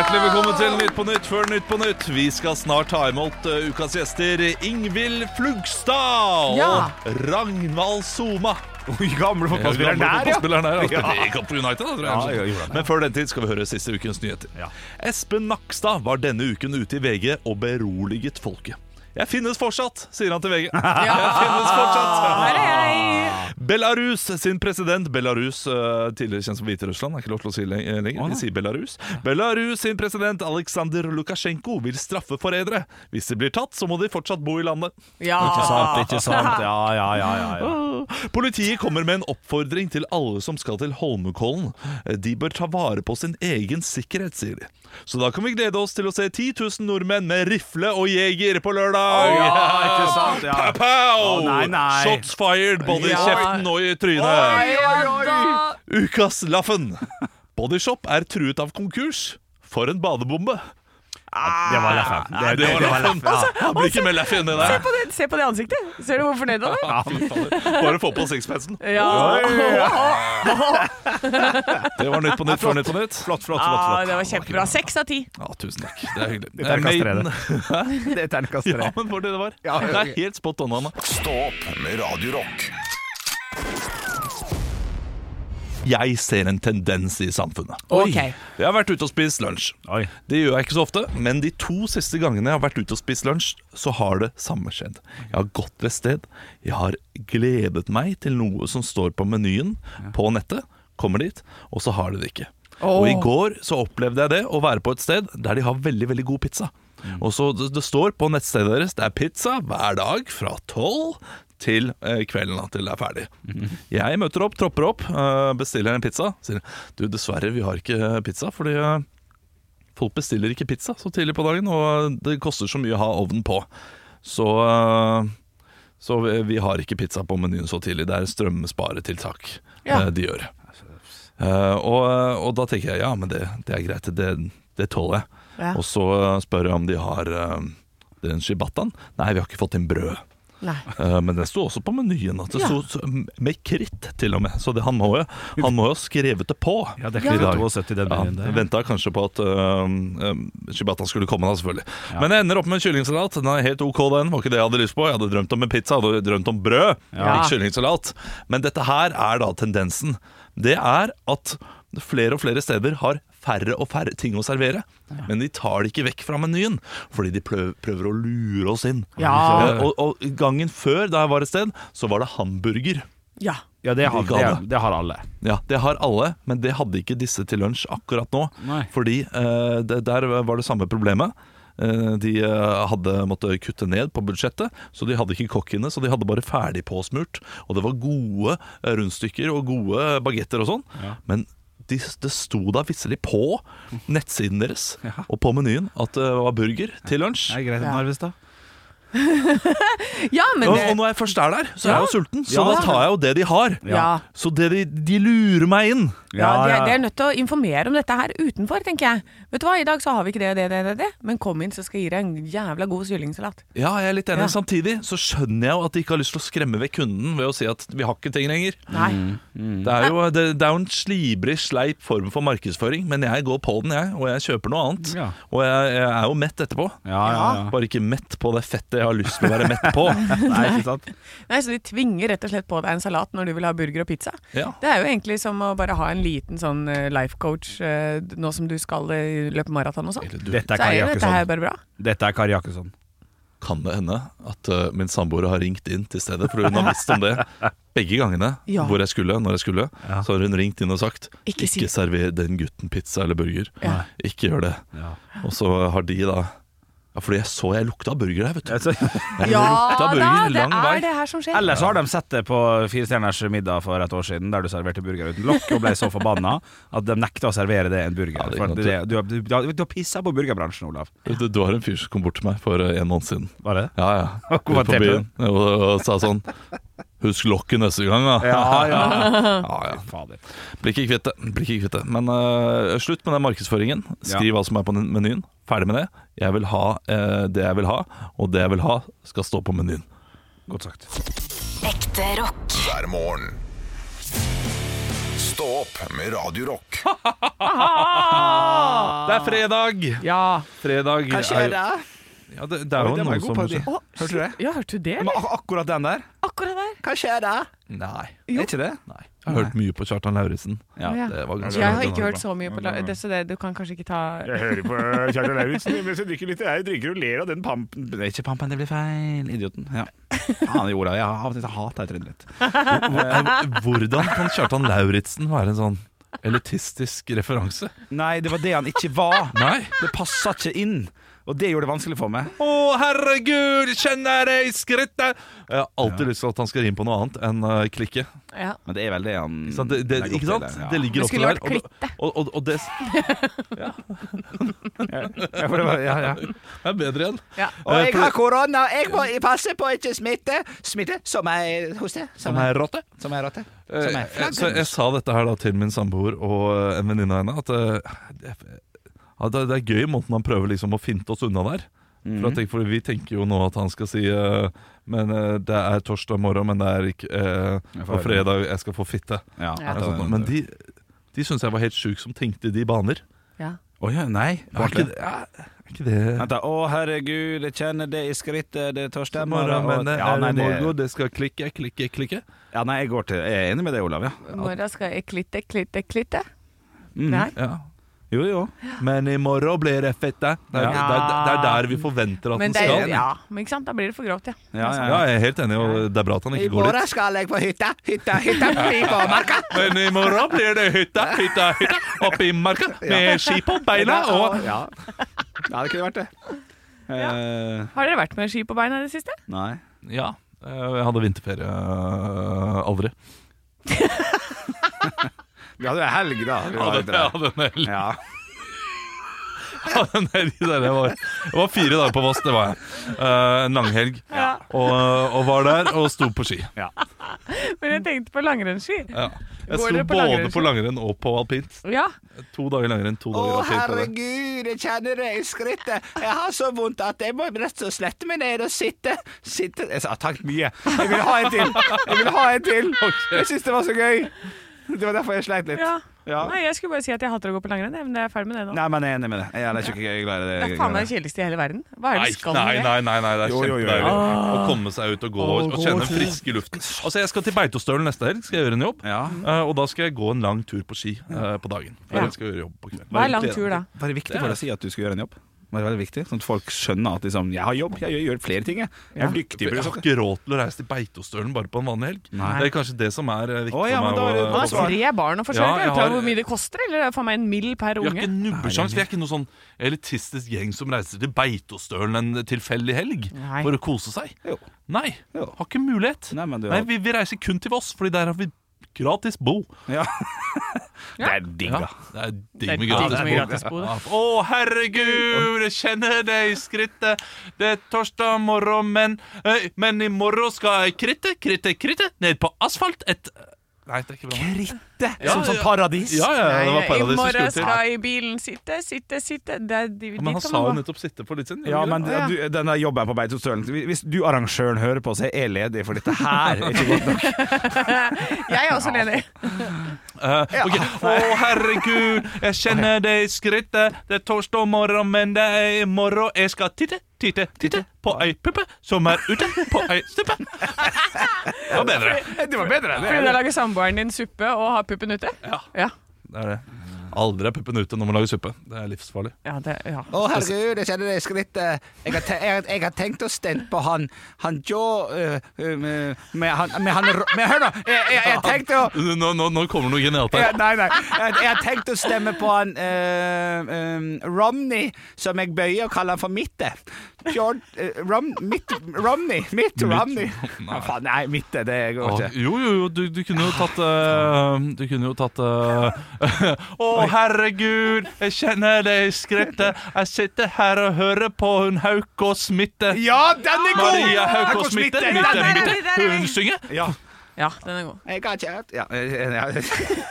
Speaker 3: Hjertelig velkommen til Nytt på Nytt før Nytt på Nytt. Vi skal snart ta imot eh, ukas gjester Ingvild Flugstad
Speaker 4: Ja.
Speaker 3: og Ragnvald Soma.
Speaker 2: Oi, gamle fotballspilleren
Speaker 3: Gamle
Speaker 2: der, ja!
Speaker 3: fotballspilleren der, ja. Spilte i Kamp for United, da, tror jeg.
Speaker 2: Ja, ja, gjorde han.
Speaker 3: Men før den tid skal vi høre siste ukens nyheter.
Speaker 2: Ja.
Speaker 3: Espen Nakstad var denne uken ute i VG og beroliget folket. Jeg finnes fortsatt, sier han til VG. Jeg finnes fortsatt.
Speaker 4: Her er jeg!
Speaker 3: Belarus sin president Belarus, eh, tidligere kjent som Hviterussland, er ikke lov til å si le- eh, lenger. Vi sier Belarus. Belarus sin president Aleksandr Lukasjenko vil straffe forrædere. Hvis de blir tatt, så må de fortsatt bo i landet.
Speaker 4: Ja.
Speaker 2: Ikke sant, ikke sant. Ja, ja, ja. ja, ja.
Speaker 3: Politiet kommer med en oppfordring til alle som skal til Holmenkollen. Eh, De bør ta vare på sin egen sikkerhet, sier de. Så da kan vi glede oss til å se 10 000 nordmenn med rifle og jeger på lørdag!
Speaker 2: Ja, ikke sant, ja.
Speaker 3: Pow, pow!
Speaker 2: Å, nei, nei.
Speaker 3: Shots fired, både i
Speaker 4: Ja.
Speaker 3: kjeften og i trynet.
Speaker 4: Da-
Speaker 3: Ukas Laffen. Bodyshop er truet av konkurs. For en badebombe.
Speaker 2: Det var laffen. Det, det, det var laffen. Ja.
Speaker 3: Han blir ikke med laff inni
Speaker 4: Se
Speaker 3: der.
Speaker 4: på, det, se på det ansiktet! Ser du hvor fornøyd han er?
Speaker 3: Ja, fy faen. Bare få på sixpencen.
Speaker 4: Ja.
Speaker 3: Det var Nytt på Nytt før Nytt på Nytt.
Speaker 2: Flott, flott, flott.
Speaker 4: Ah,
Speaker 2: flott.
Speaker 4: det var kjempebra. Seks av ti.
Speaker 3: Ja, tusen takk. Det er hyggelig.
Speaker 2: Det er terningkast tre,
Speaker 3: Maiden.
Speaker 2: Det er terningkast
Speaker 3: Ja, men for det det var. Det er helt spot on, Anna.
Speaker 1: Stå opp med Radio Rock.
Speaker 3: Jeg ser en tendens i samfunnet.
Speaker 4: Ok.
Speaker 3: Jeg har vært ute og spist lunsj.
Speaker 2: Oi.
Speaker 3: Det gjør jeg ikke så ofte, men de to siste gangene jeg har vært ute og spist lunsj, så har det samme skjedd. Jeg har gått til et sted, jeg har gledet meg til noe som står på menyen på nettet, kommer dit, og så har de det ikke. Og i går så opplevde jeg det, å være på et sted der de har veldig, veldig god pizza. Og så det, det står på nettstedet deres, det er pizza hver dag fra tolv til eh, kvelden da, til det er ferdig. Jeg møter opp, tropper opp, eh, bestiller en pizza. Sier du, dessverre, vi har ikke eh, pizza fordi eh, Folk bestiller ikke pizza så tidlig på dagen, og det koster så mye å ha ovnen på. Så, øh, så vi vi har ikke pizza på menyen så tidlig. Det er strømsparetiltak
Speaker 4: Ja.
Speaker 3: eh, de gjør. Eh, og, og da tenker jeg ja, men det, det er greit, det, det tåler jeg.
Speaker 4: Ja.
Speaker 3: Og så eh, spør jeg om de har eh, den shibataen. Nei, vi har ikke fått inn brød.
Speaker 4: Nei.
Speaker 3: Eh, Men det sto også på menyen at det
Speaker 4: Ja.
Speaker 3: sto sto med kritt, til og med. Så det, han, må jo, han må jo ha skrevet det på.
Speaker 2: Ja, det er ikke 72 den menyen der.
Speaker 3: jeg Venta kanskje på at uh, Shibata skulle komme, da, selvfølgelig. Men jeg ender opp med en kyllingsalat. Den er helt OK, den. Var ikke det jeg hadde lyst på. Jeg hadde drømt om en pizza, jeg hadde drømt om brød.
Speaker 4: Ja.
Speaker 3: Ikke kyllingsalat. Men dette her er da tendensen. Det er at flere og flere steder har færre og færre ting å servere. Men de tar det ikke vekk fra menyen, fordi de prøv, prøver å lure oss inn.
Speaker 4: Ja.
Speaker 3: Eh, Og, og gangen før, da jeg var et sted, så var det hamburger.
Speaker 4: Ja.
Speaker 2: Ja, det har,
Speaker 3: De ga
Speaker 2: det, det har alle.
Speaker 3: Ja, Det har alle, men det hadde ikke disse til lunsj akkurat nå.
Speaker 2: Nei.
Speaker 3: Fordi eh, det, der var det samme problemet. Eh, de eh, hadde måttet kutte ned på budsjettet, så de hadde ikke kokk inne. Så de hadde bare ferdig påsmurt. Og det var gode eh, rundstykker og gode bagetter og sånn. Men de, det sto da visselig på nettsiden deres og på menyen at det var burger til lunsj.
Speaker 2: Er det greit, Narvestad?
Speaker 4: ja, men eh,
Speaker 3: Og,
Speaker 4: det-
Speaker 3: og når jeg først er der, så er jeg jo sulten, så
Speaker 2: Ja.
Speaker 3: da tar jeg jo det de har.
Speaker 4: Ja.
Speaker 3: Så det de, de lurer meg inn.
Speaker 4: Ja, de, er- de er nødt til å informere om dette her utenfor, tenker jeg. Vet du hva, i dag så har vi ikke det og det, det, det, det. men kom inn, så skal jeg gi deg en jævla god kyllingsalat.
Speaker 3: Ja, jeg er litt enig.
Speaker 4: Ja.
Speaker 3: Samtidig så skjønner jeg jo at de ikke har lyst til å skremme vekk kunden ved å si at vi har ikke ting lenger.
Speaker 4: Nei. Mm.
Speaker 3: Det er jo, det, det er jo en slibrig, sleip form for markedsføring, men jeg går på den, jeg. Og jeg kjøper noe annet.
Speaker 2: Ja.
Speaker 3: Og jeg, jeg er jo mett etterpå.
Speaker 2: Ja, ja, ja.
Speaker 3: Bare ikke mett på det fettet jeg har lyst til å være mett på.
Speaker 2: Nei, ikke sant?
Speaker 4: Nei, Så de tvinger rett og slett på deg en salat når du vil ha burger og pizza.
Speaker 3: Ja.
Speaker 4: Det er jo egentlig som å bare ha en liten sånn eh, life coach eh, nå som du skal eh, løpe maraton og sånn.
Speaker 3: Eller du,
Speaker 2: Dette er
Speaker 4: Så er
Speaker 2: Kari
Speaker 4: jo dette her
Speaker 2: Jakkesson.
Speaker 4: bare bra.
Speaker 2: Dette er Kari Jakkesson.
Speaker 3: kan det hende at eh, min samboer har ringt inn til stedet, for hun har visst om det begge gangene
Speaker 4: Ja.
Speaker 3: hvor jeg skulle, når jeg skulle. Så har hun ringt inn og sagt
Speaker 4: Ikke
Speaker 3: ikke,
Speaker 4: si-
Speaker 3: server den gutten pizza eller burger.
Speaker 4: Ja.
Speaker 3: Ikke gjør det.
Speaker 2: Ja.
Speaker 3: Og så har de da ja, Fordi jeg så jeg lukta burger her, vet du.
Speaker 2: Altså,
Speaker 3: Jeg lukta burger
Speaker 4: det
Speaker 3: lang vei.
Speaker 4: er det her som skjer.
Speaker 2: Ellers har de sett det på Fire stjerners middag for et år siden, der du serverte burger uten lokk og ble så forbanna at de nekta å servere det en burger.
Speaker 3: Ja, det er
Speaker 2: for
Speaker 3: godt.
Speaker 2: det, du, du, du, har- du har pissa på burgerbransjen, Olav.
Speaker 3: Du, du har en fyr som kom bort til meg for eh, en måned siden.
Speaker 2: Var det?
Speaker 3: Ja, ja.
Speaker 2: Og
Speaker 3: Ut
Speaker 2: kommenterte
Speaker 3: på byen, og, og sa sånn Husk lokket neste gang, da.
Speaker 2: Ja, ja.
Speaker 3: Ja, ja.
Speaker 2: Fader.
Speaker 3: Blir ikke kvitt det. Blir ikke kvitt det. Men eh, slutt med den markedsføringen. Skriv hva som er på den menyen. Ferdig med det. Jeg vil ha eh, det jeg vil ha, og det jeg vil ha, skal stå på menyen.
Speaker 2: Godt sagt.
Speaker 5: Ekte rock.
Speaker 1: hver morgen. Stå opp med Radio Rock.
Speaker 3: Det er fredag!
Speaker 4: Ja.
Speaker 3: Fredag Hva skjer da? Ja, det, det er jo noen som
Speaker 2: Hørte du det?
Speaker 4: ja, hørte du det?
Speaker 2: Men
Speaker 4: eller?
Speaker 2: ak- akkurat den der?
Speaker 4: Akkurat der.
Speaker 2: Hva skjer da?
Speaker 3: Nei.
Speaker 2: Er ikke det?
Speaker 3: Nei. Jeg har hørt mye på Kjartan Lauritzen.
Speaker 4: Å, ja.
Speaker 3: Det var ganske
Speaker 4: Jeg har
Speaker 3: bra.
Speaker 4: ikke hørt så mye på la- det, så det, du kan kanskje ikke ta
Speaker 2: Jeg hører på Kjartan Lauritzen mens jeg drikker litt Jeg drikker og ler av den pampen Det er ikke pampen, det blir feil. Idioten. Ja. Faen i Olav. Jeg har av og til hata jeg trynet litt.
Speaker 3: Eh, Hvordan kan Kjartan Lauritzen være en sånn elitistisk referanse?
Speaker 2: Nei, det var det han ikke var.
Speaker 3: Nei.
Speaker 2: Det passa ikke inn. Og det gjorde det vanskelig for meg.
Speaker 3: Å, herregud, kjenner jeg skrittet Jeg har alltid lyst til at han skal rime på noe annet enn eh, klikke.
Speaker 4: ja.
Speaker 2: Men det er vel det han
Speaker 3: Ikke sant? Det, det,
Speaker 2: legger opp
Speaker 3: ikke sant?
Speaker 2: til der. Ja.
Speaker 3: det ligger
Speaker 4: Det
Speaker 3: opp
Speaker 4: skulle
Speaker 3: til
Speaker 4: vært klitte.
Speaker 3: Og, og, og det
Speaker 2: Ja, for det var, ja, ja.
Speaker 3: er bedre igjen.
Speaker 4: Ja.
Speaker 3: Og jeg har
Speaker 2: korona, og jeg må passe på ikke smitte. Smitte som er hoste.
Speaker 3: Som er rotte.
Speaker 2: Som er rotte.
Speaker 3: Eh, eh, Så jeg sa dette her da til min samboer og eh, en venninne av henne, at eh, det, ja, det det er gøy måten han prøver liksom å finte oss unna der.
Speaker 2: Mm.
Speaker 3: For,
Speaker 2: Mhm.
Speaker 3: at, jeg- for vi tenker jo nå at han skal si eh, Men eh, det er torsdag morgen, men det er ikke eh,
Speaker 2: Jeg får
Speaker 3: Og
Speaker 2: høre.
Speaker 3: fredag, jeg skal få fitte.
Speaker 2: Ja,
Speaker 4: Ja.
Speaker 2: etter den-
Speaker 3: Men de, de syns jeg var helt sjuk som tenkte i de baner.
Speaker 4: Ja.
Speaker 2: Å ja, nei.
Speaker 3: Er ikke, det- ja, er ikke det
Speaker 2: Vent da. Å, herregud, jeg kjenner det i skrittet, det
Speaker 3: Det
Speaker 2: tar
Speaker 3: er
Speaker 2: stemmer
Speaker 3: morgen, men
Speaker 2: og-
Speaker 3: det
Speaker 2: ja,
Speaker 3: er
Speaker 2: nei,
Speaker 3: morgen,
Speaker 2: det,
Speaker 3: det skal klikke, klikke, klikke.
Speaker 2: ja, nei, jeg går til Jeg er enig med det, Olav. Ja.
Speaker 4: I morgen skal jeg klitte, klitte, klitte.
Speaker 2: Mhm.
Speaker 4: Nei.
Speaker 3: Ja.
Speaker 2: Jo, jo.
Speaker 3: Men i morgen blir det fett, det. Det er,
Speaker 2: Ja.
Speaker 3: det, er, det er der vi forventer at
Speaker 4: Men
Speaker 3: den
Speaker 4: det er,
Speaker 3: skal.
Speaker 4: ja, men ikke sant? Da blir det for grovt, ja.
Speaker 2: Ja, ja,
Speaker 3: Ja,
Speaker 2: ja.
Speaker 3: jeg er helt enig, og det er bra at han ikke går dit.
Speaker 2: skal jeg på hytta, hytta, hytta, på marka.
Speaker 3: Men i morgen blir det hytta, hytta, hytta, oppe i marka med ski på beina og
Speaker 2: Ja. ja, det kunne vært det. Eh,
Speaker 4: Har dere vært med ski på beina i det siste?
Speaker 2: nei.
Speaker 3: Ja. eh, Jeg hadde vinterferie eh, aldri.
Speaker 2: Ja, det er helg, da. Vi har
Speaker 3: Hadde,
Speaker 2: ikke det.
Speaker 3: hadde en hel,
Speaker 2: Ja.
Speaker 3: hadde en hel der jeg var, jeg var fire dager på Voss, det var jeg. Eh, En langhelg. Og, og var der og sto på ski.
Speaker 4: Men jeg tenkte på langrennsski.
Speaker 3: Ja. Jeg
Speaker 4: Går
Speaker 3: sto
Speaker 4: dere på
Speaker 3: både
Speaker 4: langrenn,
Speaker 3: på langrenn og på alpint.
Speaker 4: Ja.
Speaker 3: To dager langrenn, to dager alpint.
Speaker 2: herregud, jeg kjenner det i skrittet. Jeg har så vondt at jeg må rett og slett meg ned og sitte. Sitte Jeg har tenkt mye. Jeg vil ha en til. Jeg vil ha en til. Jeg syns det var så gøy. Det var derfor jeg sleit litt.
Speaker 4: Ja.
Speaker 2: Ja.
Speaker 4: Nei, jeg skulle bare si at jeg hater å gå på langrenn, jeg, men jeg er ferdig med det nå.
Speaker 2: Nei, men jeg er enig med det. Jeg er ikke jeg er glad i det.
Speaker 4: Det er faen meg det kjedeligste i hele verden. Hva er det
Speaker 3: Nei,
Speaker 4: du skal
Speaker 3: nei,
Speaker 4: med?
Speaker 3: nei, nei, nei, det er
Speaker 2: Jo, jo, jo.
Speaker 3: kjempedeilig å komme seg ut og gå og kjenne den friske luften. Altså, Jeg skal til Beitostølen neste helg, skal jeg gjøre en jobb.
Speaker 2: Ja.
Speaker 3: Eh, og da skal jeg gå en lang tur på ski eh, på dagen. For
Speaker 4: Ja.
Speaker 3: jeg skal gjøre jobb på kvelden.
Speaker 4: Hva er lang tur, da?
Speaker 2: Var det viktig for deg å si at du skulle gjøre en jobb? Var det veldig viktig? Sånn at folk skjønner at liksom, jeg har jobb, jeg gjør, gjør flere ting. Jeg, jeg er dyktig.
Speaker 3: Jeg
Speaker 2: på det.
Speaker 3: har ikke råd til å reise til Beitostølen bare på en vanlig helg.
Speaker 2: Nei.
Speaker 3: Det er kanskje det som er eh, viktig
Speaker 2: Å, ja, men
Speaker 3: for
Speaker 2: da er
Speaker 3: meg.
Speaker 2: det-
Speaker 3: å-
Speaker 4: Du
Speaker 2: da
Speaker 4: har tre barn å forsørge.
Speaker 3: Ja, jeg
Speaker 4: Vet du
Speaker 3: har-
Speaker 4: hvor mye det koster? Eller det er faen meg en mill per
Speaker 3: Vi har
Speaker 4: unge.
Speaker 3: ikke nubbesjans. Vi er ikke noen sånn elitistisk gjeng som reiser til Beitostølen en tilfeldig helg
Speaker 4: Nei.
Speaker 3: for å kose seg.
Speaker 2: Jo.
Speaker 3: Nei,
Speaker 2: Jo.
Speaker 3: har ikke mulighet.
Speaker 2: Nei, men du
Speaker 3: Nei,
Speaker 2: har-
Speaker 3: vi, vi reiser kun til Voss, Fordi der har vi gratis bo.
Speaker 2: Ja. Det er digg,
Speaker 3: Ja,
Speaker 2: da.
Speaker 3: det er
Speaker 4: Det er
Speaker 3: digg med
Speaker 4: digg
Speaker 3: gratis
Speaker 4: med gratis bo,
Speaker 3: bo.
Speaker 4: det.
Speaker 3: Ja. Å, herregud, jeg kjenner det i skrittet. Det er torsdag morgen, men eh, Men i morgen skal jeg kritte, kritte, kritte ned på asfalt et Nei, det er ikke bra.
Speaker 2: Kritte!
Speaker 3: Ja,
Speaker 2: som sånn
Speaker 3: ja.
Speaker 2: paradis.
Speaker 3: Ja, ja, det var
Speaker 4: I
Speaker 3: paradiset vi
Speaker 4: morgen
Speaker 3: skulle til.
Speaker 4: skal jeg i bilen sitte, sitte, sitte. Det er de,
Speaker 3: Ja, Men han
Speaker 4: dit kan
Speaker 3: sa jo
Speaker 4: man gå.
Speaker 3: nettopp 'sitte' for litt siden.
Speaker 2: Ja,
Speaker 3: gjorde
Speaker 2: men
Speaker 3: det?
Speaker 2: ja, du, den der jobben på Beitostølen Hvis du arrangøren hører på, så er jeg ledig, for dette her er ikke godt nok.
Speaker 4: Jeg er også ledig.
Speaker 3: Eh, ok. Å, herregud, jeg kjenner det i skrittet. Det er torsdag morgen, men det er i morgen jeg skal titte, titte, titte på ei puppe som er ute på ei suppe. Det var bedre.
Speaker 2: Det var bedre enn
Speaker 4: Fordi da lager samboeren din suppe og har puppen ute? Ja. Ja,
Speaker 3: Det er det. Aldri er puppen ute når man lager suppe. Det er livsfarlig.
Speaker 4: det, ja.
Speaker 2: Å, herregud, jeg kjenner det i skrittet. Jeg har, te jeg, jeg har tenkt å stemme på han Han Joe øh, øh, med, med han Med han ro- med, Hør nå! Jeg, jeg, jeg tenkte å
Speaker 3: Nå, nå, nå kommer noe genialt
Speaker 2: jeg,
Speaker 3: her.
Speaker 2: Nei, nei. Jeg, jeg har tenkt å stemme på han øh, øh, Romney, som jeg bøyer og kaller han for Mitte. George, øh, Rom, mitt, Romney. Mitt Romney. Nei, faen, nei Mitte. Det går
Speaker 3: Å,
Speaker 2: ikke.
Speaker 3: jo, jo, jo, du, du kunne jo tatt eh, Du kunne jo tatt eh, Å, herregud, jeg kjenner det i skrittet. Jeg sitter her og hører på hun Haukås Smitte.
Speaker 2: Ja, den er god!
Speaker 3: Maria Haukås
Speaker 2: Haukås
Speaker 3: Mitte.
Speaker 2: Mitte,
Speaker 3: Mitte,
Speaker 2: den er
Speaker 3: Mitte.
Speaker 4: vi, der er vi.
Speaker 3: Hun synger.
Speaker 2: Ja.
Speaker 4: ja, den er god.
Speaker 2: Jeg har kjøpt Ja. eh, ja.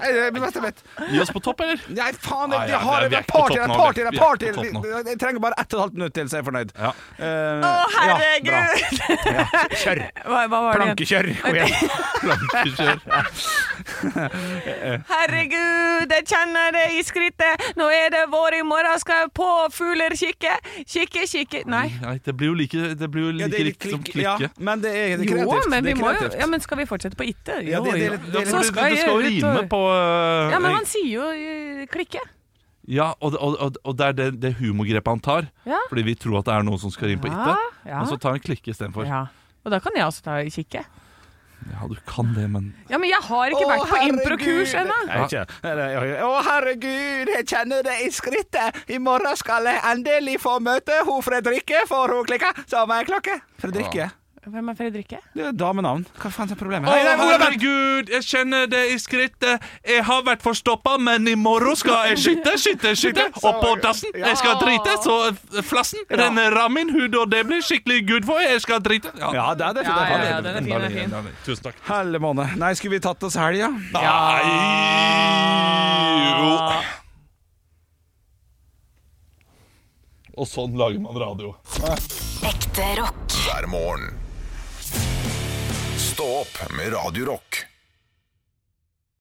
Speaker 2: Nei, det blir mest jeg vet.
Speaker 3: Gi oss på topp, eller?
Speaker 2: Nei, faen,
Speaker 3: Nei, ja,
Speaker 2: jeg, jeg har
Speaker 3: vi er-
Speaker 2: det er
Speaker 3: vi er
Speaker 2: party, det
Speaker 3: på
Speaker 2: er
Speaker 3: topp nå,
Speaker 2: party,
Speaker 3: vi
Speaker 2: det er
Speaker 3: er
Speaker 2: party!
Speaker 3: på topp nå.
Speaker 2: Jeg- Jeg trenger bare ett og et halvt minutt til, så er jeg fornøyd.
Speaker 3: Ja.
Speaker 2: Eh,
Speaker 4: Å, herregud!
Speaker 2: Ja, bra. Ja, kjør!
Speaker 4: Hva, hva var det? igjen?
Speaker 2: Plankekjør! Kom igjen.
Speaker 3: Plankekjør.
Speaker 4: Herregud, jeg kjenner det i skrittet. Nå er det vår, i morgen skal jeg på fugler kikke. Kikke, kikke Nei.
Speaker 3: Nei, det blir jo like, det blir jo
Speaker 2: Ja,
Speaker 3: like
Speaker 2: det er litt
Speaker 3: riktig som
Speaker 2: klikk- ja,
Speaker 3: klikke.
Speaker 2: men det er det er
Speaker 4: Jo,
Speaker 2: kreativt.
Speaker 4: men vi
Speaker 2: det er
Speaker 4: må jo
Speaker 2: kreativt.
Speaker 4: Ja, men skal vi fortsette på itte?
Speaker 2: Ja,
Speaker 4: Jo,
Speaker 2: det- det-
Speaker 4: jo.
Speaker 2: det-
Speaker 3: Ja,
Speaker 2: det-
Speaker 4: Så
Speaker 3: for det,
Speaker 4: skal
Speaker 3: det
Speaker 4: jeg
Speaker 3: skal jo
Speaker 4: ut
Speaker 3: rime
Speaker 4: og-
Speaker 3: på eh,
Speaker 4: Ja, men han sier jo eh, klikke.
Speaker 3: Ja, og, og, og, og det er det, det humorgrepet han tar.
Speaker 4: Ja.
Speaker 3: Fordi vi tror at det er noen som skal rime på
Speaker 4: Ja,
Speaker 3: itte.
Speaker 4: ja.
Speaker 3: Men så tar han klikke istedenfor. Ja.
Speaker 4: Ja. Og da kan jeg også ta kikke.
Speaker 3: ja, du kan det, men
Speaker 4: Ja, men jeg har ikke
Speaker 2: Å,
Speaker 4: vært på improkurs
Speaker 2: herregud.
Speaker 4: ennå.
Speaker 2: Nei, ikke. Nei, nei, oi, oi. Å, herregud, jeg kjenner det i skrittet. I morgen skal jeg endelig få møte hun Fredrikke, for hun klikka som ei klokke. Fredrikke?
Speaker 4: Hvem er Fredrikke?
Speaker 2: Det er damenavn. Hva faen er problemet?
Speaker 3: Å,
Speaker 2: Nei, nei, Ola, vent.
Speaker 3: herregud, jeg kjenner det i skrittet. Jeg har vært forstoppa, men i morgen skal jeg skyte, skyte, skyte. Opp på dassen. Jeg skal drite, så f- flassen renner av min hud, og det blir skikkelig good for. Jeg skal drite.
Speaker 2: Ja, det er det.
Speaker 4: Ja, ja, ja,
Speaker 2: det
Speaker 4: den er fin. Den er fin.
Speaker 3: Tusen takk.
Speaker 2: Helle måned. Nei, skulle vi tatt oss helga?
Speaker 3: Nei jo. Og sånn lager man radio.
Speaker 5: Ekte rock.
Speaker 1: hver morgen. Stå opp med Radio Rock.